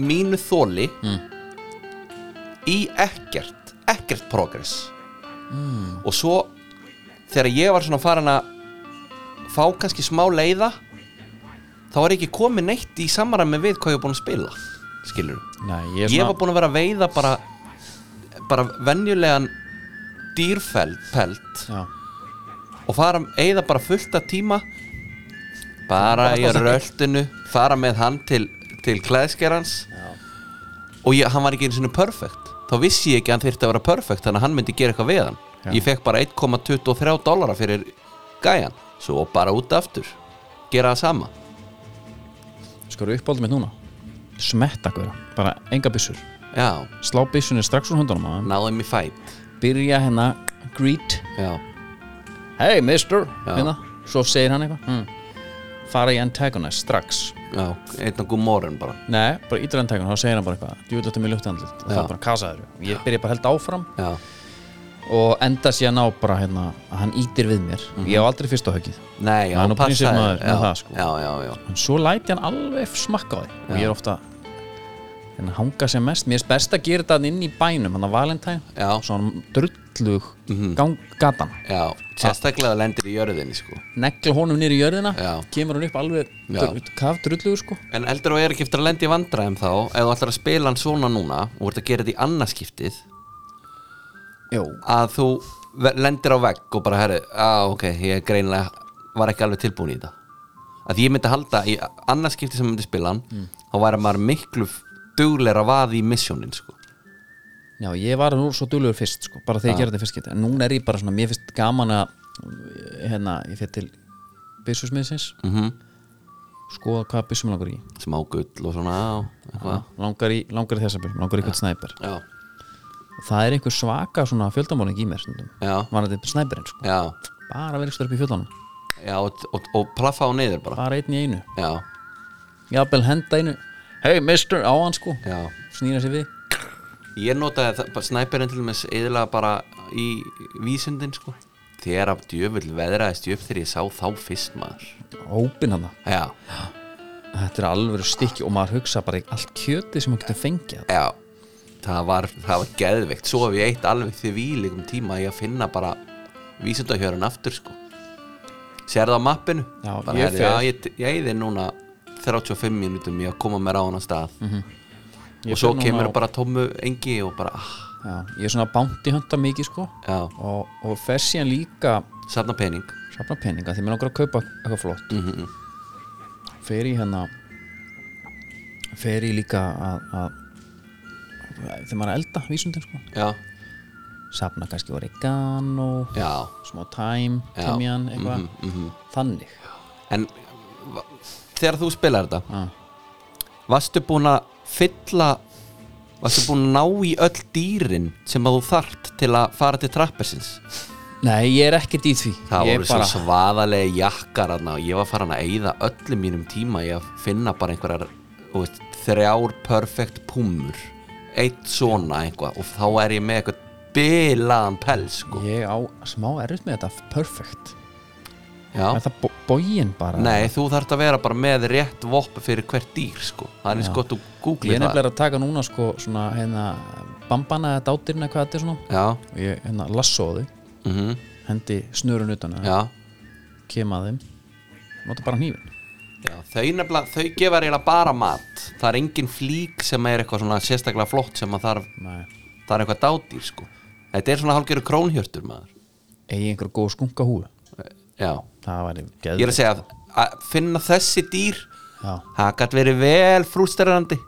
mínu þóli í ekkert ekkert progress og svo þegar ég var svona farin að fá kannski smá leiða þá var ég ekki komið neitt í samaræmi við hvað ég var búin að spila skilur Nei, ég, ég var búin að vera að veiða bara bara venjulegan dýrfeld pelt Já, og fara, eigða bara fullt af tíma bara í röltinu fara með hann til, til klæðskerans og ég, hann var ekki einu sinni perfect þá vissi ég ekki að hann þyrfti að vera perfect þannig að hann myndi gera eitthvað við hann ég fekk bara 1,23 dollara fyrir gæjan svo bara út aftur gera það sama sko eru uppáldum mitt núna Smetta hverja, bara enga byssur já, Slá byssunni strax úr höndunum að náðum í fætt Byrja hérna, greet já, Hey mister, Já. hérna Svo segir hann eitthvað hm. Fara í antagonist strax já, einn og gúm morgun bara Nei, bara ítur antagonist, þá segir hann bara eitthvað Djúðlöftu mig ljóttu andlit og Já. það bara kasaður Ég byrja bara held áfram já, og enda síðan á bara hérna að hann ítir við mér ég á aldrei fyrsta höggið nei, já, Hann er nú passaði. prinsipmaður með já, það, sko. já, já, já, en svo læti hann alveg smakka á því og ég er ofta en hanga sem mest, mér er best að gera þetta inn í bænum, hann að Valentine Já. svona drullug gang, gatan, já sérstaklega lendir í jörðinni sko negla honum niður í jörðina Já. kemur hann upp alveg Já. dr- kafdrullugur sko En eldur og er ekki eftir að lenda í vandræðum þá ef þú ætlar að spila hann svona núna og ert að gera þetta í annarskiptið Jó. að þú ve- lendir á vegg og bara herri að ok, ég greinlega var ekki alveg tilbúin í þetta að því ég myndi halda í annarskiptið sem myndi spila hann þá væri maður miklu dugleira vaði í missjónin sko. Já, ég var nú svo duglegur fyrst sko, bara þegar ég gerði þetta fyrst geta en núna er ég bara eh, svona, mér finnst gaman að hérna, ég fyrir til byrsusmiðsins mm -hmm. skoða hvað byssum langar í smá gull og svona og eitthvað langar í, langar í þessa byssum, langar í eitthvað snæper já, það er einhver svaka svona fjöldamóling í mér stundum já, var þetta snæperinn sko já, bara verið stöður upp í fjöldanum, já og, og, og plaffa á neyður bara bara einn í einu já, jafnvel henda einu, hey mister á hann sko já snýra sér við Ég notaði það, bara snæperinn til dæmis eðilega bara í vísundin sko Þegar af djöfull veðraðist ég upp þegar ég sá þá fyrst maður hópin hann Já, þetta er alveg stikki og maður hugsa bara í allt kjöti sem maður getur fengið já Það var, það var geðveikt, svo hef ég eitt alveg því vílikum tíma í að finna bara vísundahjörun aftur sko Sér það á mappinu? Já, bara, ég herri, fer. já, ég, ég eði núna 35 mínútum í að koma mér á hana stað Mhm. Ég Og svo fer núna kemur á- bara tómu engi og bara, ah, Já, ég er svona bounty hunta mikið sko já, og, og fer síðan líka safna pening safna peninga því mér langar að kaupa eitthvað flott mm Mhm. -hmm. fer ég hérna fer ég líka að, að þegar maður er að elda vísundin sko Já, safna kannski oregano já smá tæm, Já. Mhm, tæmjan eitthvað þannig En va- þegar þú spilar þetta Varstu búin að fylla Varstu búin að ná í öll dýrin sem að þú þart til að fara til trappersins nei ég er ekkert í því Það ég voru bara... svo svaðalegi jakkar þarna og ég var farin að eyða öllum mínum tíma í að finna bara einhverjar þú veist, þrjár perfect púmur eitt svona eitthvað og þá er ég með eitthvað bilaðan pels sko. ég á smá erfitt með þetta perfect Já. er það bo bógin bara Nei, þú þarft að vera bara með rétt vopp fyrir hvert dýr sko. Það er eins Já. gott að ég googla er það nefnilega að taka núna sko svona hérna bambana eða dátirna hvað þetta er svona Já, og ég hérna lassóði mm hendi snurun utan að já, kem að þeim nota bara hnífin já Þau nefnilega, þau gefa eiginlega bara mat Það er engin flík sem er eitthvað svona sérstaklega flott sem að þarf, Nei. það er eitthvað dádýr sko Þetta er svona hálfgerðu krónhjörtur maður eigi einhver góð skunka húfu Já, það væri ég er geðvægt að segja að, að finna þessi dýr Já. Það gætt verið vel frústerandi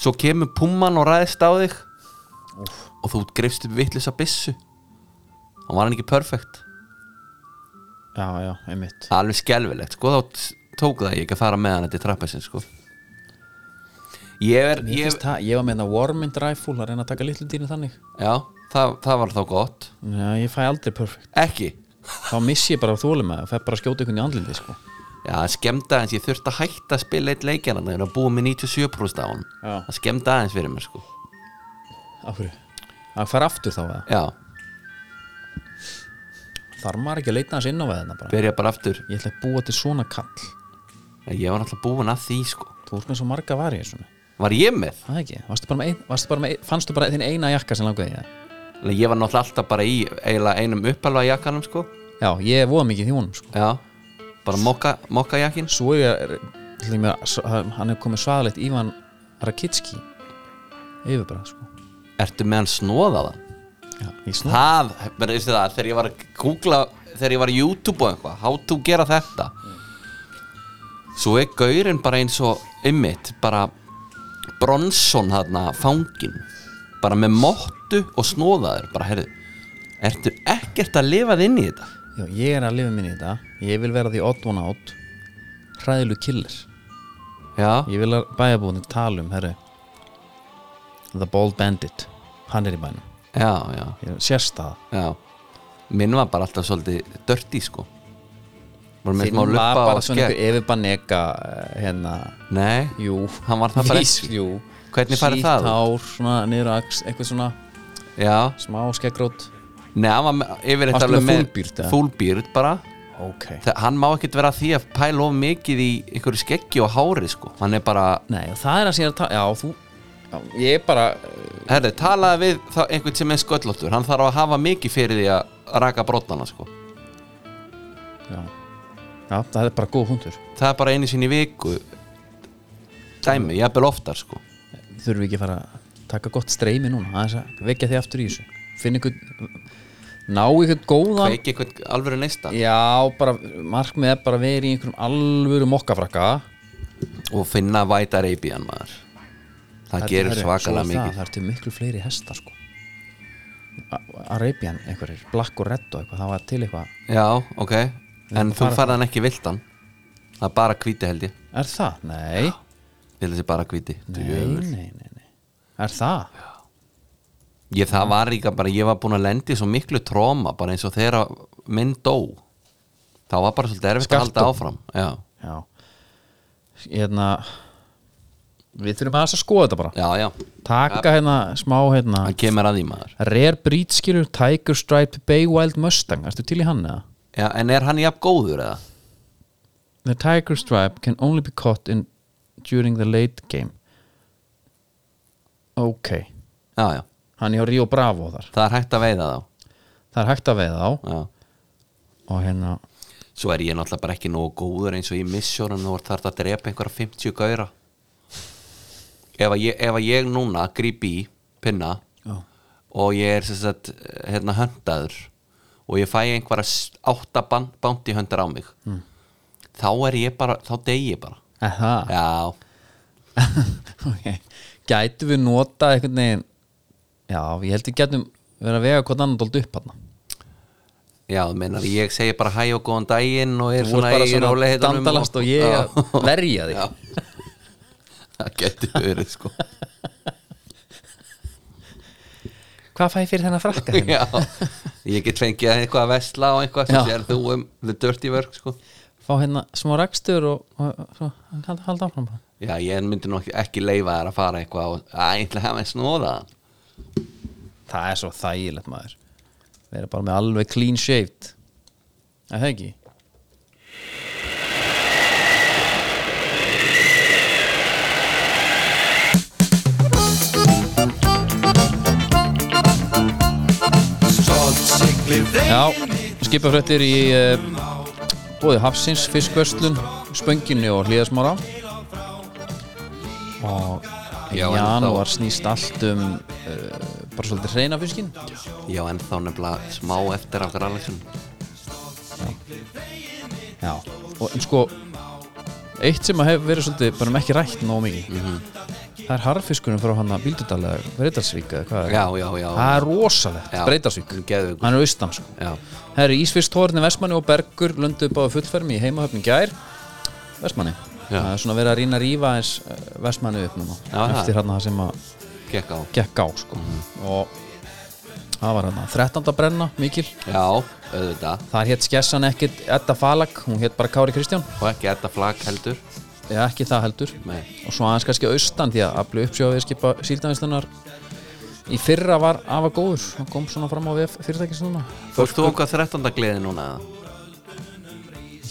Svo kemur pumman og ræðist á þig Og þú greifst upp vitlisa byssu Og var hann ekki perfekt já já einmitt Það er alveg skelfilegt sko, þá t- tók það ég ekki að fara með hann til trappasinn sko. ég er Mér ég, finnst það, ég var með hérna þetta warming rifle að reyna að taka litlu dýrin þannig já, það, það var þá gott já, ég fæ aldrei perfect ekki, þá miss ég bara þólum að það fer bara að skjóta einhvern í andlindi sko. já, það skemmta aðeins ég þurfti að hætta að spila eitt leikjana þegar að hérna, búa með 97% á hann Já. það skemmta aðeins fyrir mér sko. af hverju það fer aftur þá eða já, þarf maður ekki að leita hans inn á veðina bara byrja bara aftur ég ætla að búa til svona kall ég var alltaf búin að því sko. þú ert með svo marga var ég svona var ég með? það ekki varstu bara með, ein, varstu bara með ein, fannstu bara þinn eina jakka sem langaði í það Nei, ég var náttúrulega alltaf bara í eiginlega einum uppalva jakkanum sko. já ég er voða mikið í húnum sko. já, bara mokka, mokka jakkin svo er, er mér, hann er komið svaðalegt Ivan Rakitski yfirbræð sko. ertu með hann snóðaðan? já, í snúð það, menn, veistu það, þegar ég var að googla, þegar ég var að YouTube og eitthvað how to gera þetta svo er gaurinn bara eins og ymmit, bara Bronson þarna, fangin bara með mottu og snóðaður bara, herðu, ertu ekkert að lifað inn í þetta? já, ég er að lifa minni í þetta ég vil vera því odd one out hræðilu killer Já, ég vil að bæjabúðin tala um herri the bald bandit hann er í bænum já, já, Ég- sérst það já minn var bara alltaf svolítið dörti, sko bara með smá Þinn var luppa bara og svona skegg einhver Evibaneka eh, hérna, Nei, jú Hann var það bara Vís, ekki. jú Hvernig farið það? Sítt hár, svona niður á ax, eitthvað svona já, smá skeggrót nei, hann var með- yfir þetta Varstu alveg með með full beard, eða? fúlbýrt bara Ok Þa- hann má ekkert vera að því að pæla of mikið í einhverju skeggi og hári sko hann er bara, Nei, og það er að sér að tala, já, þú já, Ég er bara, eh, herri, talaði við þá einhvern sem er sköllóttur, hann þarf að hafa mikið fyrir því að raka brotnana sko já Já, það er bara góð hundur það er bara einu sinni í viku dæmi, jafnvel oftar sko Þurfum við ekki að fara að taka gott streymi núna aðeins að vekja þig aftur í þessu Finn ykkur, ná ykkur góðan veiki einhvern alvöru neista Já, bara, markmið er bara að vera í einhverjum alvöru mokkafrakka og finna White Arabian maður það gerur herri, svo svakalega er það, mikið það er til miklu fleiri hesta sko A- Arabian einhverjir, Black og Red og eitthvað það var til eitthvað já, ok, en að þú fara færðan ekki viltan það er bara hvíti held ég Er það? Nei, ég held að sé bara hvíti nei, nei, nei, nei. Er það? ég það var líka bara, ég var búin að lendi svo miklu tróma, bara eins og þegar minn dó þá var bara svolítið erfitt að halda Skaftdóm. áfram já, Já Hérna Við þurfum aðeins að skoða þetta bara já, já, Taka hérna smá hérna það kemur að því maður Rare Breed skilur Tiger Stripe Bay Wild Mustang Erstu til í hann eða? já, en er hann jafn góður eða? The tiger stripe can only be caught in during the late game Ok já, já, Hann er hjá Rio Bravo þar það er hægt að veiða þá Það er hægt að veiða á já. og hérna svo er ég náttúrulega bara ekki nógu góður eins og ég missjór en þú ert þarf að drepa einhverja 50 gæra ef að ég, ef að ég núna gríp í pinna Já. og ég er sem sagt hérna höndaður og ég fæ einhverja s- átta bánti höndar á mig Mm. þá er ég bara, þá degi ég bara Aha, já, okay. Gætu við nota einhvern veginn Já, ég held við gætum verið að vega hvort annan dóldu upp hann já, þú meinar ég segi bara hæ og góðan daginn og er Þú ert bara í svona rólegheitunum dandalast og ég að Já. verja þig Já. (laughs) það getur verið sko Hvað fæ ég fyrir þennan frakka hérna? já, ég get fengið eitthvað að vesla og eitthvað sem Já. sér þú um the dirty work sko Fá hérna smá rakstur og, og, og, og halda hald áfram bara. já, ég myndi nú ekki- ekki leifa þær að fara eitthvað og að eitthvað hafa einn snóðaðan Það er svo þægilegt maður Við erum bara með alveg clean shaved Er það ekki? Já, skipafrættir í uh, bóði Hafsins, Fiskvöslun Spönginni og Hlíðasmára og í Já, en þá- janúar snýst allt um uh, bara svolítið hreina fiskin já, en þá nefnilega smá eftir af Gralexun Já, og en sko eitt sem að hefur verið svolítið bara um ekki rætt nóg mikið Mhm. það er harfiskunum frá hann að Bíldudal eða Breitalsvík eða hvað er já, já, já, það er rosalegt, Já. Breitalsvík Geðveikur. hann er austan sko já. Það eru Ísfisthórni, Vestmanni og Bergur lönduðu báðu fullfermi í heimahöfnum gær Vestmanni Já. það er svona verið að rýna að rífa eins eh, Vestmanni upp núna Já, Mhm. það. eftir hann það sem að gekk á gekk á sko og það var hann 13. brenna mikil já, auðvitað, þar hétt skessan ekkit Edda Falag hún hétt bara Kári Kristján og ekki þetta flagg heldur eða ekki það heldur Nei. og svo aðeins kannski austan því að aflu uppsjóðið skipa síldavinslunar í fyrra var afa góður hann kom svona fram á vef fyrirtækis núna fórst þú okkar 13. gleði núna eða?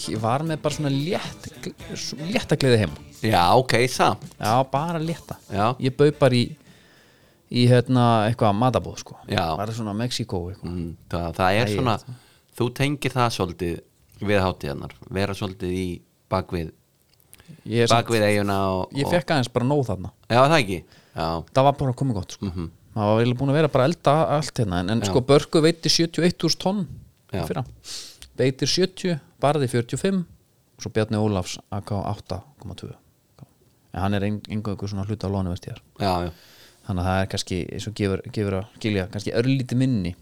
ég var með bara svona létt létta gleði heim já, ok, samt já, bara létta Já. ég bauð bara í í hérna eitthvað matabóð sko Já. bara svona Mexíkó eitthvað mm, það, það er svona þú tengir það svolítið við hátíðarnar vera svolítið í bakvið ég, er samt- bakvið eiguna og, ég fekk aðeins bara nóð þarna og já, það ekki já, það var bara komið gott sko. það var eiginlega búin að vera bara að elda allt hérna en, en sko Börgu veitir 71.000 tonn í Já. fyrra veitir 70, barði 45 og svo Bjarni Ólafs AK 8,2 en hann er einhverjum svona hluta á lónu vestíðar já, já, þannig að það er kannski eins og gefur, gefur að skilja kannski örlítið minni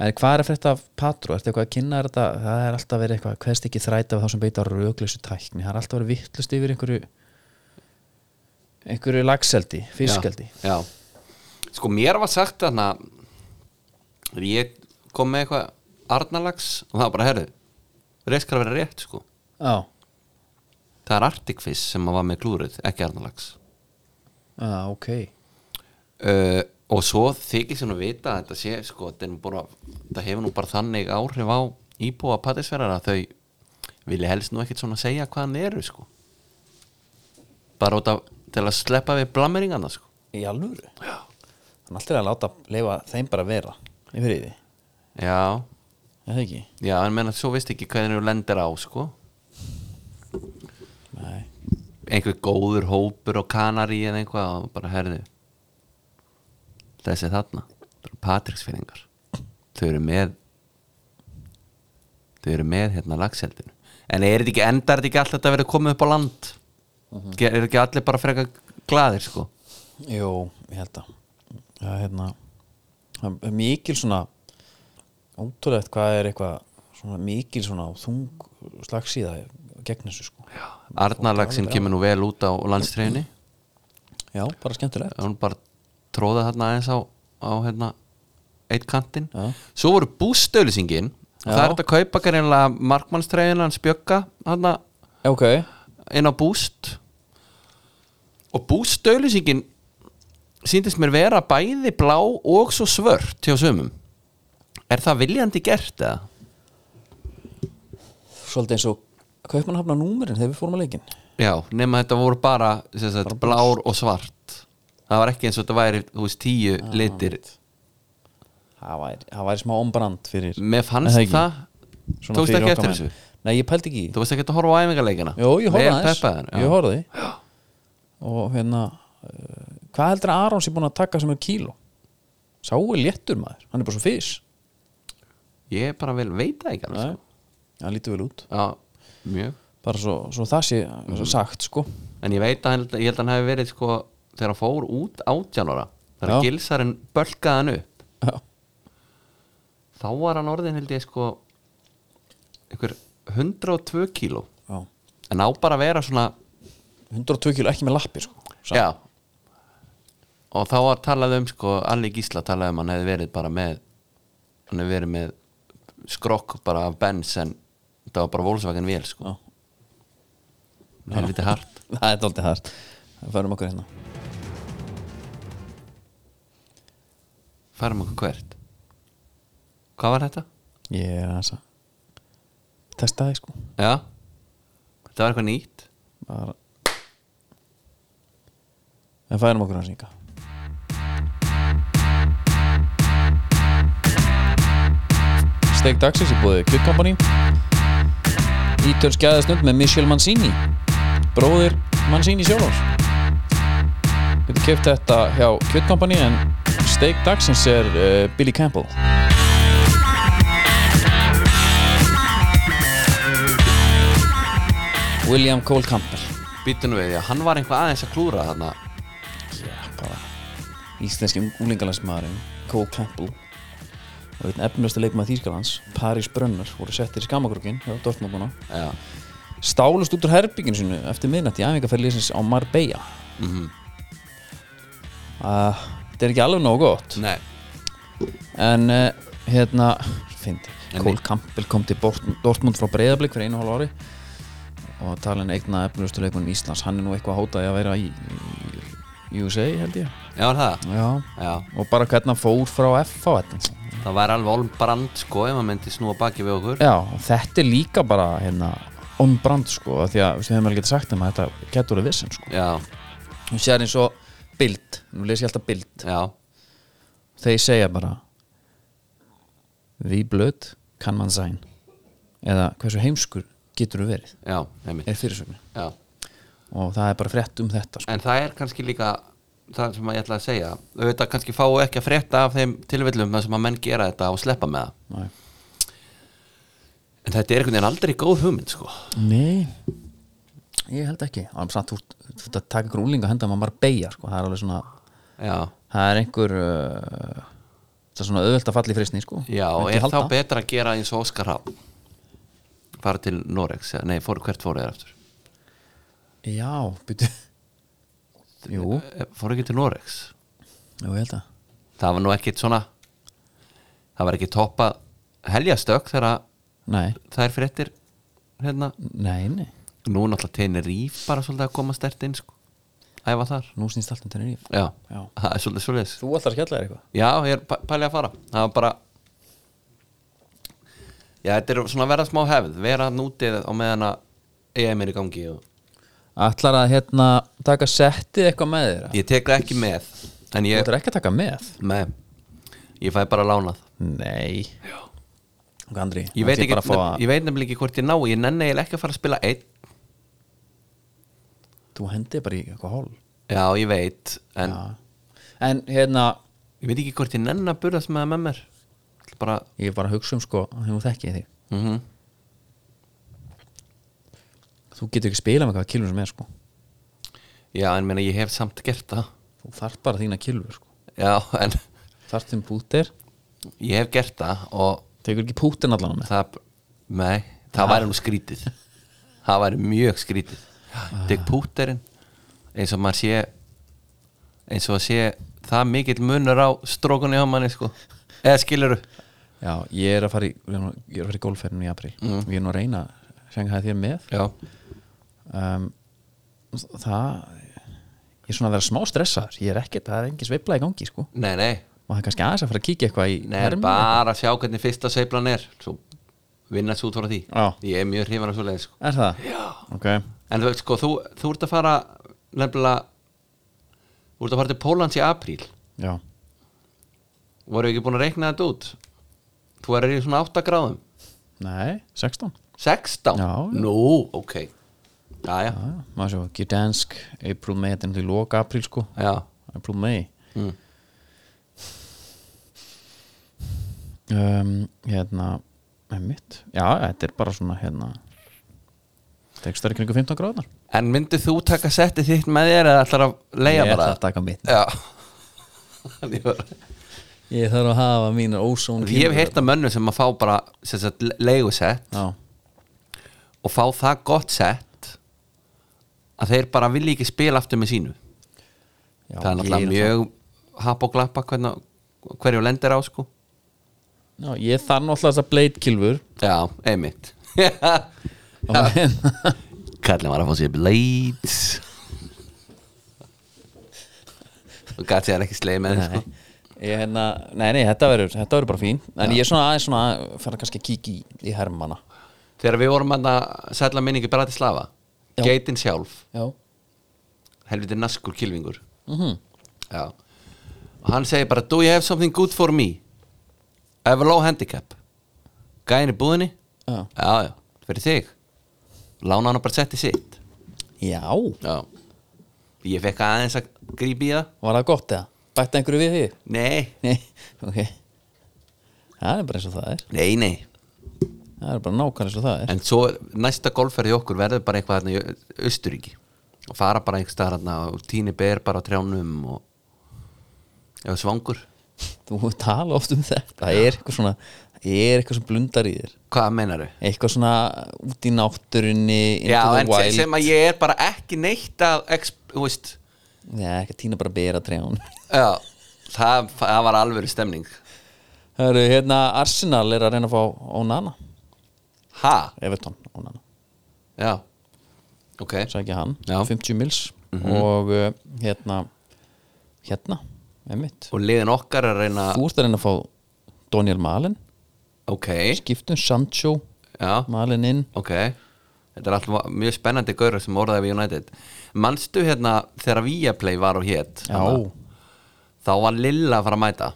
en hvað er að frétta af Patro ertu eitthvað að kynna þér þetta það er alltaf verið eitthvað hverst ekki þræta af þá sem beita röglösu tækni það er alltaf verið vittlust yfir einhverju einhverju lagseldi, fiskeldi já, já sko mér var sagt þarna ég kom með eitthvað Arnalags og það var bara herðu reist skal vera rétt sko Já, það er Arctic Fish sem var með klúrið ekki Arnalags já ok uh, og svo þykir sem að vita að þetta sé sko, þetta, er nú bara, þetta hefur nú bara þannig áhrif á íbúa patisverðar að þau vilja helst nú ekkert svona segja hvaðan þið eru sko bara út af til að sleppa við blammeringarna sko Í alvöru? Já Þannig alltaf er að láta leifa þeim bara vera í friði, já, er það ekki? já, en menna svo veist ekki hvernig þú lendir á sko Nei einhver góður hópur og kanari eða eitthvað og bara herðu þessi þarna það eru patriksfinningar þau eru með þau eru með hérna lagseldinu en er þetta ekki, endar þetta ekki alltaf þetta að vera komið upp á land uh Mhm. er ekki allir bara frekar glaðir sko Jú, ég held að Já, hérna það er Mikil svona ótrúlegt hvað er eitthvað svona mikil svona þung slagsíða gegn þessu sko já, Arnarlag sem kemur nú vel út á landstreyjunni bara skemmtilegt hún bara tróða þarna aðeins á, á hérna, eitt kantinn Já. svo voru bústöðlýsingin það Já. er þetta kaupa greinlega markmannstreyjuna hans bjögga þarna ok, inn á búst og bústöðlýsingin síndist mér vera bæði blá og svo svört hjá sömum er það viljandi gert eða? svolítið eins og kaupmannhafna númerinn þegar við fórum að leikin Já, nema þetta voru bara, sem sagt, blár og svart það var ekki eins og þetta væri þú veist, tíu litir það væri, það væri smá ombrand fyrir Mér Er fannst ekki? það, Svona tókst fyrir Mm. ekki okkar eftir menn. þessu nei, ég pældi ekki í Þú veist ekki að horfa á æfingarleikina Jó, ég horfði aðeins Ég horf... horfði Og hérna uh, Hvað heldur að Arons er búin að taka sem er kíló? Sá er léttur maður, hann er bara svo fís ég bara vel veit það ekki alveg sko. Hann lítur vel út Já, mjög Bara svo, svo það sé svo sagt sko En ég veit að hann, ég held að hann hefði verið sko þegar hann fór út átjánóra þegar Já. gilsarinn bölkaði hann upp Já, þá var hann orðin held ég sko einhver 102 kíló já. en á bara að vera svona 102 kíló, ekki með lappir sko Samt. Já Og þá var talað um sko Alli Gísla talaði um að hann hefði verið bara með hann hefði verið með skrokk bara af Benz en það var bara Volkswagen vél sko Já. Helviti hart Það er dálítið hægt Það færum okkur hérna Færum okkur hvert Hvað var þetta? Ég er aðeins að Testa þig sko Já Þetta var eitthvað nýtt Bara En færum okkur hans ynga Steak Dagsins er búið Kjöld Company Ítölsk skjæðastund með Michel Mancini Bróðir Mancini sjálfs Við getum keft þetta hjá Kjöld Company en Steak Dagsins er uh, Billy Campbell William Cole Campbell Býttu nú við, já, hann var eitthvað aðeins að klúra þarna Já, bara Íslenski úlingalansmaðurinn Cole Campbell og einn efnustu leikmaður Þýskalands Paris Brönner voru settir í skamakrokkin hjá Dortmunduna Já, stálust út úr herbygginu sinu eftir miðnætti í æfingarferðliðsins á Marbella Mhm. mm Það er ekki alveg nóg gott nei en uh, hérna fyndi, En Cole við- Campbell kom til Bort- Dortmund frá Breiðablík fyrir einu og hálf ári og talin eigna efnustu leikmaður Íslands, hann er nú eitthvað að hóta í að vera í, í USA held ég Já, var það Já, Já, og bara hvernig hann fór frá F á þetta það var alveg olm brand sko ef hann myndi snúa baki við okkur Já, og þetta er líka bara hérna on brand sko, af því að við hefum alveg getið sagt um að þetta getur verið vissin sko Já, Hún sér eins og bild, nú les ég alltaf bild já, þeir segja bara Því blöð kann man sæn eða hversu heimskur getur verið já, nemi er fyrirsögnin Já og það er bara frétt um þetta sko. en það er kannski líka það sem ég ætla að segja auðvitað kannski fáu ekki að frétta af þeim tilvillum þar sem að menn gera þetta og sleppa með það Nei. en þetta er einhvern veginn aldrei góð hugmynd sko. Nei Ég held ekki, það er samt þú ert- þú ert að taka ykkur úlinga henda maður bara beigja sko. það er alveg svona já, það er einhver uh, það er svona auðvelt að falla í frisni sko. já og Myndi er þá halda. betra að gera eins og Óskar Hafn fara til Norex eða- nei, fór, hvert fóru þér eftir já, býtu jú, fóru Eh, ekki til Norex jú, ég held að það var nú ekkit svona það var ekki toppa heljastök þegar nei, það er fréttir hérna, nei, nei, nú er náttúrulega teinir ríf bara svolítið að koma stert inn sko. æfa þar nú snýst allt um tennir í Já, Já. það er svolítið svolítið þú alltaf skjallar eitthvað Já, ég er pæ- pælið að fara Það var bara Já, þetta er svona að vera smá hefð Vera nútið á meðan að EM er í gangi og... allar að hérna taka settið eitthvað með þér Ég tek það ekki með En þú ég, ætlar ekki að taka með með, ég fæ bara lánað nei og Andri, Ég veit, ætla ekki, bara að fá ég veit nefnilega ekki hvort ég ná Ég nenni eiginlega ekki að fara að spila einn þú hendið bara í eitthvað hól Já, ég veit En en hérna, ég veit ekki hvort ég nenni að burðast með það með mér Ætla bara, ég er bara að hugsa um sko þegar þú þekkið þig mhm þú getur ekki spilað með hvaða kilvur sem er sko Já, en meina ég hef samt gert það þú þarf bara þína kilvur sko Já, en (laughs) þarf þinn pútir ég hef gert það Og tekur ekki pútin allan á með það, nei, það væri nú skrítið það væri mjög skrítið Dick Púterinn eins og maður sé eins og að sé það mikill munur á strókunni á manni sko eða skiluru Já, ég er að fara í, ég er nú- ég er að fara í golfferðinu í april Mm. og ég er nú að reyna að senga það þér með já, um, það ég er svona að vera smá stressaður ég er ekkert, það er engin sveifla í gangi sko nei nei, og það er kannski aðeins að fara að kíkja eitthvað í nei er hermina. bara að sjá hvernig fyrsta sveiflan er svo vinna svo út frá því Já. ég er mjög hrifan af svo leið sko er það? Já. ok, en þú veist sko, þú, þú ert að fara nefnilega þú ert að fara til Pólans í apríl já, voru ekki búin að reikna þetta út þú er í svona 8 gráðum nei, 16 Já, 16? já. Nú, ok Jæja, já, maður svo, Gdansk April, May, þetta er náttúrulega í loka april sko já, April, May Mm. um, hérna einmitt, já, þetta er bara svona hérna þetta er ekki stærri kringu 15 gráðnar En myndið þú taka settið þitt með þér eða ætlar að leiða ég bara? ætla að taka mitt Já (laughs) Ég var- ég þarf að hafa mínar ósón Ég hef heyrt að mönnum sem að fá bara sem sagt, leigusett já, og fá það gott sett að þeir bara vilja ekki spila aftur með sínu já, Það er ég náttúrulega mjög hap og glappa hvernig, hverju lendir á sko Já, ég þarf náttúrulega þess að blade (laughs) kilfur Já, einmitt (laughs) Kallin var að fá sér blades og gæti sér ekki sleið með sko. þeim, Nei, ég hérna, nei, nei, þetta verður þetta verður bara fín, en ég er svona aðeins svona að fara kannski að kíkja í, í hermana sko. þegar við vorum að sætla minningi Bratislava, Já. geitin sjálf Já, Mhm. helviti naskur kilvingur já og hann segir bara, do you have something good for me I have a low handicap gæin í búðinni Já. já, já, fyrir þig lána hann að bara setja sitt já, já ég fekk aðeins að grípa í það var það gott eða? Bætti einhverju við því? nei, Nei, ok Það er bara eins og það er nei, nei Það er bara nákvæmlega eins og það er en svo næsta golfferði okkur verður bara eitthvað hérna í Östuríki og fara bara einhver staðar hérna og tíni ber bara á trjánum og eða svangur Þú tala oft um þetta Það er eitthvað svona, það er eitthvað sem blundar í þér hvað meinaru? Eitthvað svona út í náttúrunni into Já, the en se- wild. sem að ég er bara ekki neitt að exp, þú veist, Já, ekki tína bara að bera trján já, það, það var alvöru stemning Hörru, hérna Arsenal er að reyna að fá Onana ha, Everton, Onana já ok, sækja hann, Já. Mhm. 50 mils og uh, hérna hérna, emitt og liðin okkar er að reyna þú ert að reyna að fá Daniel Malin ok, skiptum Sancho já, Malin inn ok þetta er alltaf mjög spennandi gaurur sem orðaði við United manstu hérna þegar Viaplay var og hét já, hana, þá var Lilla að fara að mæta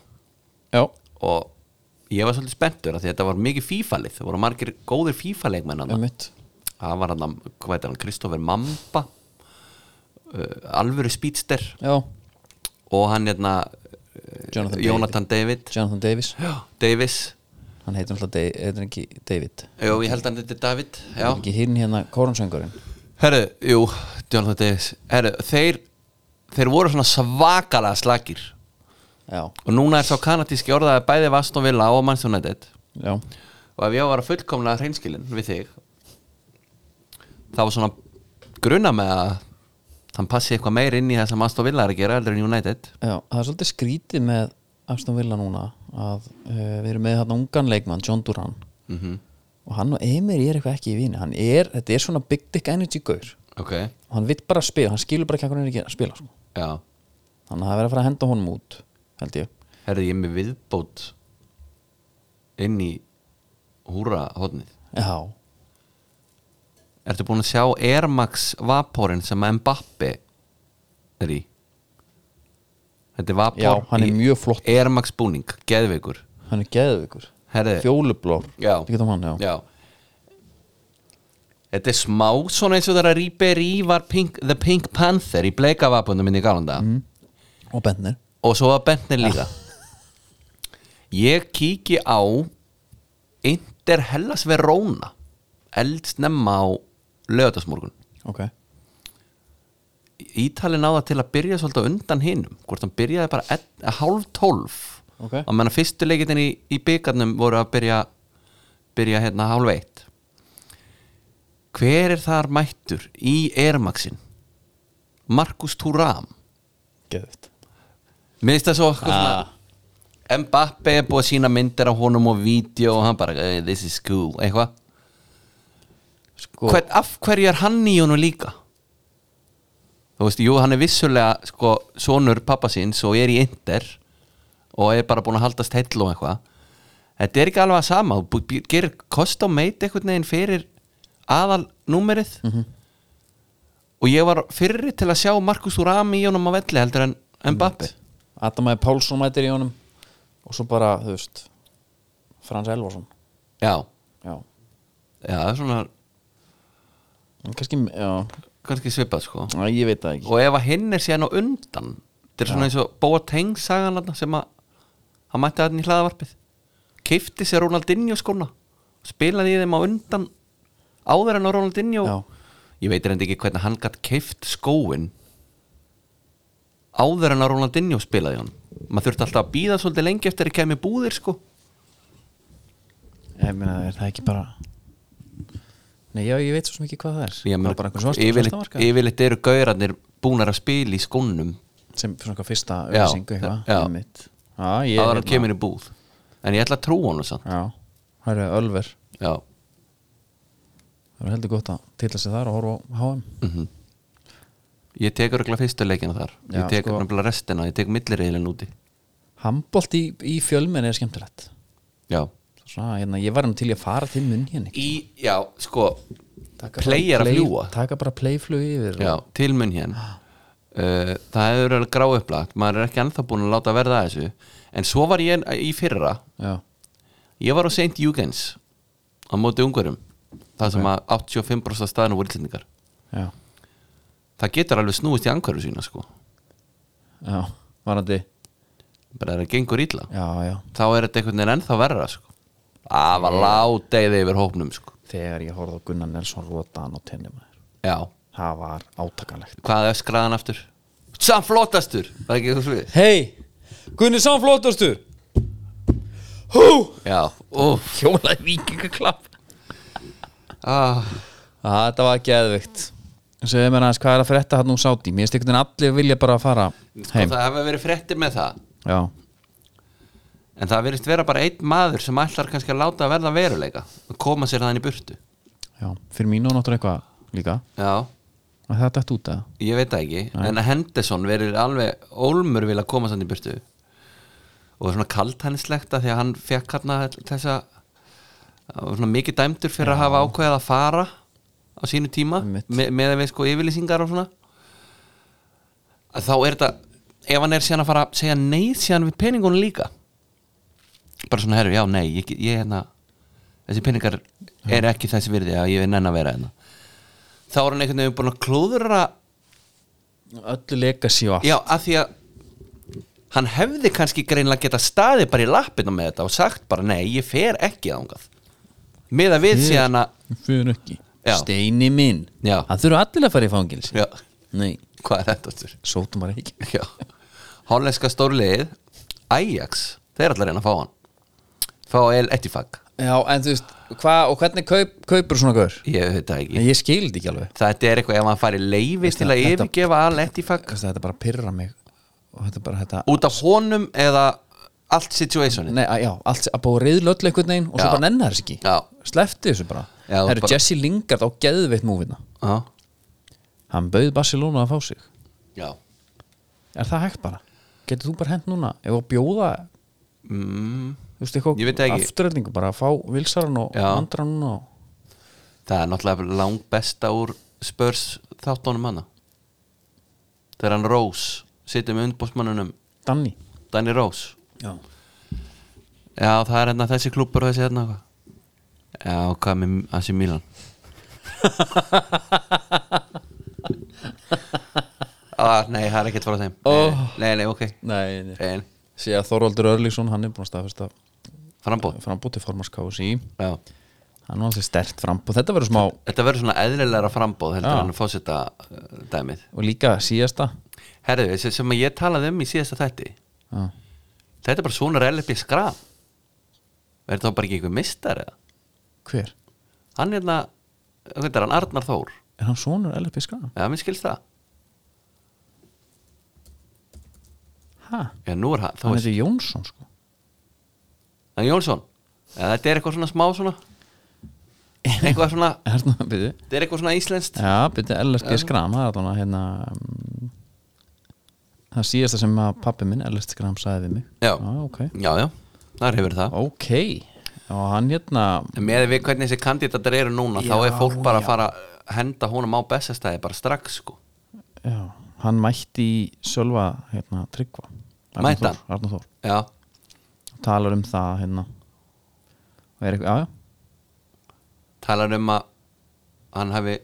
já, og ég var svolítið spenntur af því að þetta var mikið FIFA-lið, það voru margir góðir FIFA-leikmenn hann emitt það var hann, hvað heitir hann, Kristoffer Mamba uh, alvöru spýtster já, og hann hérna Jonathan Jonathan, Jonathan David, Jonathan Davis Davis hann heitir alltaf da heitir ekki David Jú, ég held hann þetta er David Já. ekki hinn hérna koronsöngurinn Herru, jú, Jonathan Davis Herru, þeir, þeir voru svona svakalega slakir já, og núna er sá kanadíski orðaði bæði Vaston Villa og Manchester United já, og ef ég var að fullkomna hreinskilin við þig þá var svona gruna með að hann passi eitthvað meir inn í það sem Aston Villa er að gera heldur en United já, það er svolítið skrítið með Aston Villa núna að uh, við erum með hérna ungan leikmann John Duran og hann og Emir er eitthvað ekki í vini hann er, þetta er svona big dick energy gaur ok, og hann vill bara spila, hann skilur bara ekki hvað hann er ekki að spila sko. já þannig að það er verið að fara að henda honum út held ég, herði ég er með viðbót inn í húra hodnið já, ertu búin að sjá Air Max vaporinn sem Mbappe er í þetta er vapor já hann er í mjög flott Air Max búning, geðveikur hann er geðveikur, Herri. fjólublór Eh. Já. ekki þá hann, já, Já Þetta er smá svona eins og þegar Ríberi var Pink, The Pink Panther í bleikavapunum minni í galanda Mm. og Bennir og svo var (laughs) Bentner líka Ég kíki á Inter Hellas Verona eldsnemma á lögðasmorgun ok, Ítalinn á það til að byrja svolítið á undan hinum hvort hann byrjaði bara ett, hálf tólf Ok. og menna fyrstu leikitin í, í byggarnum voru að byrja byrja hérna hálf eitt hver er þar mættur í Ermaxin Markus Thuram Geðvitt Mér finnst það svo okkur Ah. svona Mbappe er búið að sína myndir á honum og vídeo og hann bara, hey, this is cool eitthvað, Sko, Hvern, af hverju er hann í honum líka? Þú veist, jú, hann er vissulega sko, sonur pappa síns og er í Inder og er bara búin að haldast heill og eitthvað Þetta er ekki alveg að sama, þú bú- bý- gerir kost á meit einhvern veginn fyrir aðal númerið og ég var fyrri til að sjá Markus Urami í honum á velli heldur en Mbappi Adamæði Pálsson mætir í honum og svo bara, þú veist Frans Elvarsson Já, já, já, það er svona En kannski, já, kannski svipað sko Æ, ég veit það ekki og ef að hinn er síðan á undan þetta er svona eins og Bóa Teng sagan þarna sem að hann mætti hann í hlaðavarpið keifti sér Ronaldinho skóna spilaði í þeim á undan áður en á Ronaldinho Já. ég veitir enda ekki hvernig hann gætt keift skóin áður en á Ronaldinho spilaði hann maður þurfti alltaf að býða svolítið lengi eftir að kemja búðir sko ég meina, er það ekki bara nei, já, ég veit svo sem ekki hvað það er Ég það meina, er bara einhver svart yfirleitt, yfirleitt eru gaurarnir búnar að spila í skónum sem svona eitthvað fyrsta Já, öðsingu eitthvað já. einmitt. já, ég áður en hérna- hann kemur í búð en ég ætla að trúa hann samt já, það eru Ölver já það eru heldur gott að tilla sig þar og horfa á HM Mhm. Ég tek örgulega fyrstu leikina þar Já, Ég tek sko. örgulega restina, ég tek millireilin úti handbólt í, í fjölmenni er skemmtilegt Já svona, hérna, ég var hann til í að fara til munn hérna Í, já, sko Taka bara Play er að play- fljúga. taka bara playflug yfir Já, og, til mun hér uh, Það hefur verið gráupplagt Maður er ekki ennþá búin að láta verða að þessu En svo var ég í fyrra já, Ég var á St. Júgens Á móti ungurum Það sem að 85% af staðinu voru íslendingar já, Það getur alveg snúist í angverju sína, sko já varandi, Bara það gengur illa já, já Þá er þetta einhvern veginn ennþá verra, sko Það var ládeyði yfir hópnum, sko þegar ég horfði á Gunnar Nelson Rótan og tenni maður Já, það var átakanlegt hvað öskraði hann aftur samflótastur var ekki þú svið Hei, Gunni samflótastur já, úf Hjólaði vikingaklapp ah, ah, Þetta var geðvikt segðu mér aðeins hvað er að frétta hann úr sáti mér stekkt en allir vilja bara fara sko, heim það hafa verið fréttir með það já, en það verist vera bara einn maður sem ætlar kannski að láta að verða að veruleika og koma sér þannig í burtu já, fyrir mínu og náttúrulega eitthvað líka já, að þetta dætt út að ég veit það ekki en Henderson verið alveg ólmur vil að koma þannig í burtu og svona kaltænislegt að því að hann fekk hann þessa hann var svona mikið dæmdur fyrir að hafa ákveðið að fara á sínu tíma Einmitt. me, með að við sko yfirlýsingar og svona að þá er þetta ef hann er síðan að fara að segja nei síðan við peningunum líka bara svona herru, já, nei ég, get- ég hérna, þessi peningar er ekki þessi virði að ég er nenn að vera hérna þá er hann einhvern veginn búin að klúðra öllu leika síu Já, af því að hann hefði kannski greinlega geta staðið bara í lappina með þetta og sagt bara nei, ég fer ekki ángað með að við síðan að fyrir ekki Já. steini minn, Já. það þurfa allir að fara í fangils já, nei, hvað er þetta aftur? sótum bara ekki Já, hollenska stórliðið Ajax, þeir allar reyna að fá hann fá El Etifag já, en þú veist, hva, og hvernig kaup, kaupur svona gaur? ég veit það Ég, ekki, ég skildi ekki alveg þetta er eitthvað ef hann fari leifi til að það, þetta- yfirgefa El Etifag Kannski þetta bara pyrra mig og þetta bara þetta út af honum eða allt situationið Nei, að, já, allt, að búið reyðl öll einhvern veginn og svo Já. bara nennar þess ekki Já. Sleppti þessu bara Já, Það eru bara- Jesse Lingard á geðveitt múvinna já, Hann bauð Barcelona að fá sig já. Er það hægt bara? Getur þú bara hent núna ef að bjóða Mm, Þú veist eitthvað Ég veit það ekki. afturreldingu bara að fá vilsaran og Já. andran og Það er náttúrulega lang besta úr spörs þáttónum hana Þegar hann Rose situr með undbósmannunum Danni Danny Rose Já, Já, það er hérna þessi klúppur og þessi hérna eitthvað. Já, hvað með Asi Milan (laughs) ah, Nei, það er ekkert frá þeim oh. Nei, nei, ok nei, nei. Nei, Sé að Þorvaldur Örlíksson, hann er búin að staðfesta frambóð frambúð til formarskáðs í Já. Hann var alltaf stert frambúð, þetta verður smá Þetta verður svona eðlilegra frambóð heldur Já. Já. en fósita uh, dæmið og líka síðasta Herðu, þessi sem ég talaði um í síðasta þætti Já. Þetta er bara svona relipi skram Er það bara ekki einhver mistar eða? Hver? Hann hérna hvað er hann, Arnar Þór Er hann sonur Ellert Fiskara? Já, mér skilst það Hæ? Já, nú er hann, þá Hann er heitir Jónsson sko hann Jónsson Já, þetta er eitthvað svona smá svona Eitthvað svona, Hérna, byrju þetta er eitthvað svona íslenskt Já, byrju, Ellert Fiskram Það er allan að hérna mm, Það síðasta sem að pappi minn Ellert Fiskram sagði við mig Já, ah, ok já, já, þar hefur það Ok Og hann hérna En með við hvernig þessi kandidatar eru núna þá er fólk bara að fara að henda honum á bestastæði bara strax sko Já Hann mætti í Sölva hérna Tryggva Arnar Mætti Þór, hann? Arnar Þór Já, Talar um það hérna Og er eitthvað Já, já talar um að hann hafi,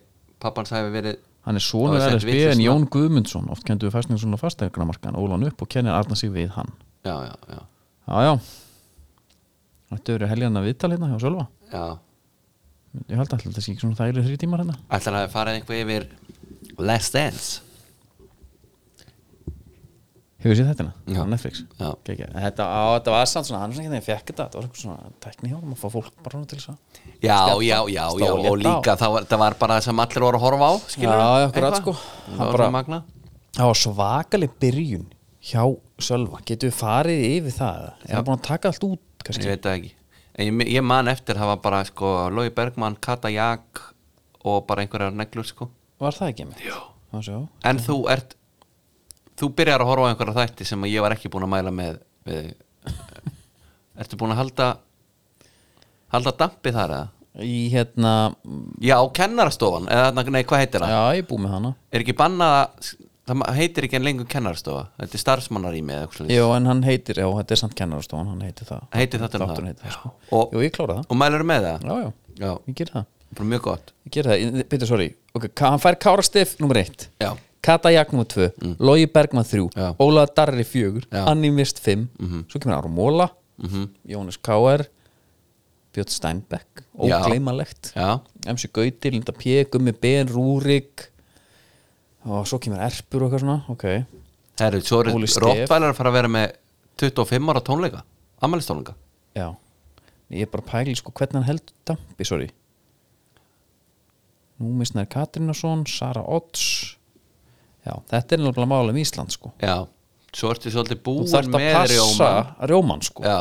pappans hafi verið Hann er Það sonur var sett LSB vitlaust en nafn. Jón Guðmundsson oft kendur við fæstningarsson á fasteignamarkan og hann upp og kennir Arna sig við hann Já, já, já, Já, já Þetta eru helgjana viðtal hérna hjá Sölva já Ég held alltaf þetta sé ekki svona þægilega þrjú tímar hérna Ætlar að fara eitthvað yfir Last Dance Hefur séð þetta Já. hérna á Netflix Já. Geggjað. En Þetta, á, þetta var samt svona, hann svona hérna, ég fekk þetta þetta var eitthvað svona tækni hjá hann að fá fólk bara svona til þess að Já, já, já, já, Stóð og létt á. líka þá var, það var bara það sem allir voru að horfa á skilur Já, já, akkurat, sko. Það Hann var bara- bara magna Það var svakaleg byrjun hjá Sölva getur við farið yfir það eða? er hann búin að taka allt út Ég kannski veit það ekki En ég, ég man eftir, það var bara sko Lói Bergmann, Kata Jak og bara einhverjar neglur sko Var það ekki með? Já En þú ert Þú byrjar að horfa á einhverja þætti sem að ég var ekki búin að mæla með við (laughs) þig. Ertu búin að halda halda dampi þar eða? Í hérna Já, kennarastofan, eða þarna- nei, hvað heitir það? Já, ég er búið með hana er ekki bannað að það ma- heitir ekki en lengur kennarstofa þetta er starfsmannarími eða eitthvað Jó, en hann heitir, já, þetta er samt kennarastofan, hann heitir það Heitir þátturinn það? Þátturinn heitir það, sko. Já. Og- Jú, ég klára það og mælur með það Já, já, já, ég ger það bara mjög gott Ég ger það, Peter, sorry Ok, Ka- hann fær Kára Stiff nummer 1 Já. Mm. Kata Jakk nummer 2 Logi Bergman 3 Já. Ólaða Darri 4 Já. Mhm. Anni Mist 5 Svo kemur Árum Móla -hmm. Jónas K.R. Björn Steinbeck Já. Ógleymalegt já, MC Gauti, Linda P, Gummi Ben, Rúrik Og svo kemur Erpur og eitthvað svona Ok herru, svo eru Óli Stef. Rottweiler að fara að vera með 25 ára tónleika ammælistónleika Já Ég er bara að pæli sko hvernig hann heldur dampi, sorry Nú misnaði Katrínason, Sara Odds Já, þetta er náttúrulega málum Ísland sko já, svo ertu svolítið Þú búin þarft að með passa rjómann. rjóman sko já,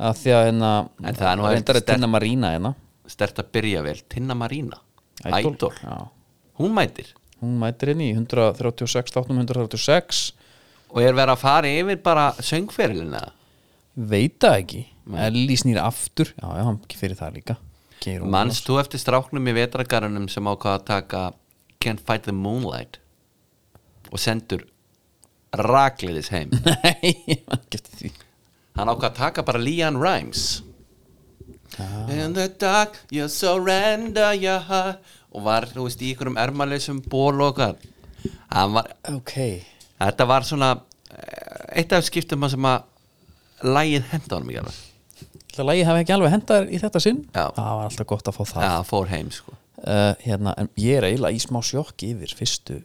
að Því að hérna En það er nú eitt Reyndar er sterk- Tina Marína hérna stert að byrja vel Tinna Marína, Idol. ædol Já, hún mætir hún mætir henni í 136, 836 og er verið að fara yfir bara söngferilina Veit það ekki Ellie snýr aftur Já, já, hann fyrir það líka Geir Ólafs. manst þú eftir stráknum í vetragarunum sem ákvaða að taka Can't Fight the Moonlight og sendur rakliðis heim (laughs) Nei, ég man ekki eftir því hann ákvaða að taka bara Leon Rimes In the dark you surrender your heart og var, þú veist, í einhverjum ermalausum ból og hvað Hann var, Ok þetta var svona eh, eitt af skiptum þar sem að lægið henda honum ekki alveg Það lagi hef ekki alveg hendar í þetta sinn Já. Það var alltaf gott að fá það Já, hann fór heim sko uh, hérna, en ég er eiginlega í smá sjokki yfir fyrstu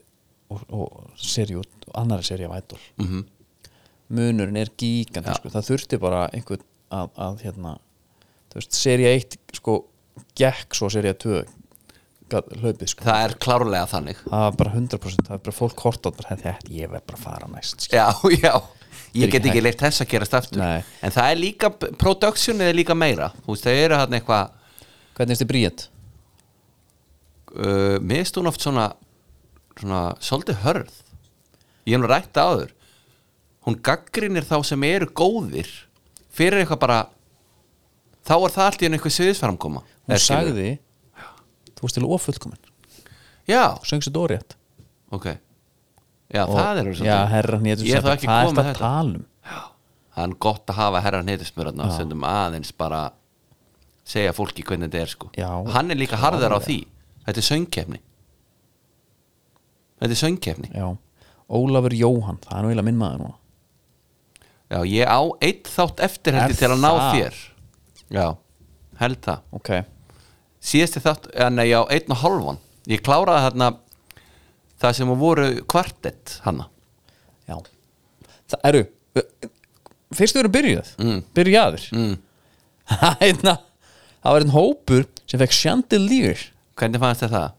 og, og serju, annari serju af Idol Mhm. -hmm. munurinn er gíkandi sko. það þurfti bara einhvern að, að hérna, þú veist, serja 1 sko, gekk svo serja 2 gat, hlaupið sko Það er klárlega þannig það var bara 100% það er bara fólk hort átt bara þetta ég verð bara að fara næst sko. skilur." (laughs) Já, já Er Ég ekki get ekki hægt. leitt þess að gerast aftur Nei. En það er líka, productionið er líka meira Þú veist, það eru hann eitthvað hvernig er þetta bríðat? uh, Mist hún oft svona Svona, svolítið hörð Ég hef nú rætt það áður Hún gaggrinir þá sem eru góðir Fyrir eitthvað bara Þá er það allt í enn eitthvað sviðisframkoma hún Eða skilur. sagði þú veist til ofullkominn Já, þú söngst þetta orðið ok Já, það er já herra hann Ég er það hvað er ekki komið þetta með að þetta tala um Það er gott að hafa herra neytismurarna sem aðeins bara segja fólki hvernig þetta er sko Já. hann er líka harðar á því þetta er söngkefni þetta er söngkefni já. Já, Ólafur Jóhann, það er nú eiginlega minn maður núna ég á eitt þátt eftir heldur Er til að ná það? þér já, held það Ok, síðasti þátt, eða nei, já, einn og hálfan ég kláraði þarna það sem voru kvartett hanna já Það eru, fyrstu eru byrjuð Mm. (laughs) Byrjaðir mm. Hérna, það var einn hópur sem fekk chandelier Hvernig fannst þér það?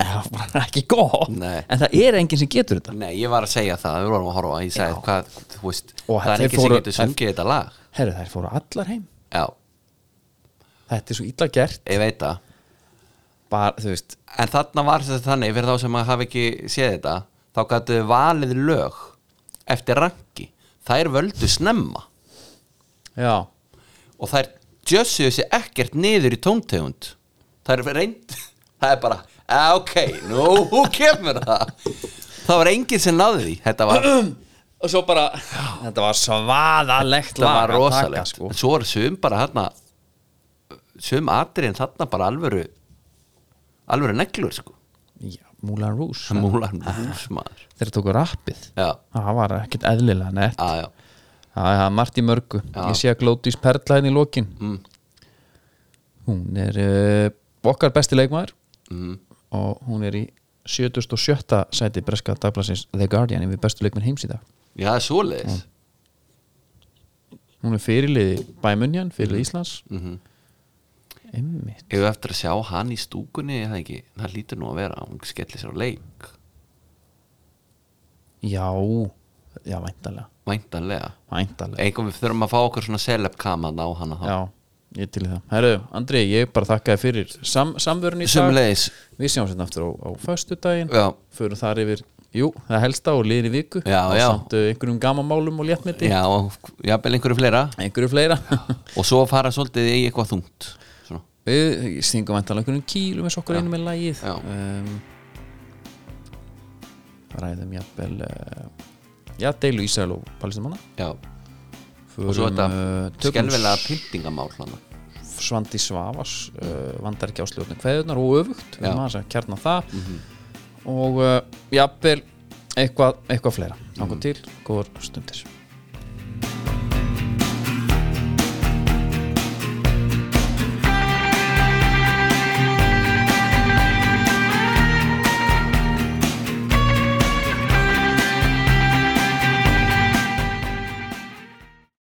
En það var bara ekki gott Nei. En það er enginn sem getur þetta Nei, ég var að segja það, við vorum að horfa Ég sagði, hvað, þú veist, Og það er þeir ekki sem fóru- getur sungið þetta lag Herru, þær fóru allar heim Já, Þetta er svo illa gert ég veit það bara, Þú veist, En þarna var þetta þannig, fyrir þá sem að hafa ekki séð þetta Þá gætu þau valið lög eftir ranki Þær völdu snemma já Og þær djössuðu sig ekkert niður í tóntegund Þær reynd, (laughs) það er bara "Ah, Ok, nú (laughs) nú kemur það Það var enginn sem náði því Þetta var, Og svo bara, þetta var svaðalegt þetta lag var að taka, rosalegt sko. En svo er sum bara þarna Sum atriðin þarna bara alvöru Alvöru neglur sko Já, Moulin Rouge Múlan húsmaður Þeir tóku rappið Já, Það var ekkert eðlilega nett já, já Það það var margt í mörgu Ah. Já. Ég sé að Glódís Perla henni í lokin mm. Hún er uh, okkar besti leikmaður mm. og hún er í 77. sæti breska dagblasins The Guardian yfir bestu leikmenn heims í dag Já, það er svoleiðis Mm. Hún er fyrirliði Bæmunjan, fyrirliði Íslands mm Einmitt Ef við eftir að sjá hann í stúkunni er það, ekki, það lítur nú að vera, hún skellir sér á leik Já, já, væntalega Væntanlega Væntalega Einhvern við þurfum að fá okkur svona celebkaman á hana þá Já, ég til í það Herru, Andri, ég bara þakkaði fyrir sam, samvörun í dag Sumleis Við sjáum sérna aftur á, á föstudaginn Já, Förum þar yfir, jú, það helsta og liðir í viku Já, og já. samt uh, einhverjum gamamálum og léttmeti já, og jafnvel einhverju fleira Einhverju fleira Og svo fara svolítið í eitthvað þungt Svona (laughs) Við stingum væntalega einhverjum kílum eins og okkur einu með lagið Já. um, Ræðum jafnvel uh, Já, deilu Ísrael og Palestinumanna Já, og svo eh, þetta skelvelega pyntingamál hana. Svandi Svavas uh, vandar ekki ásljóðna kveðunar og öfugt Já. við maður að kjarna það eh, og uh, jafnvel eitthvað, eitthvað fleira mm til, góður stundir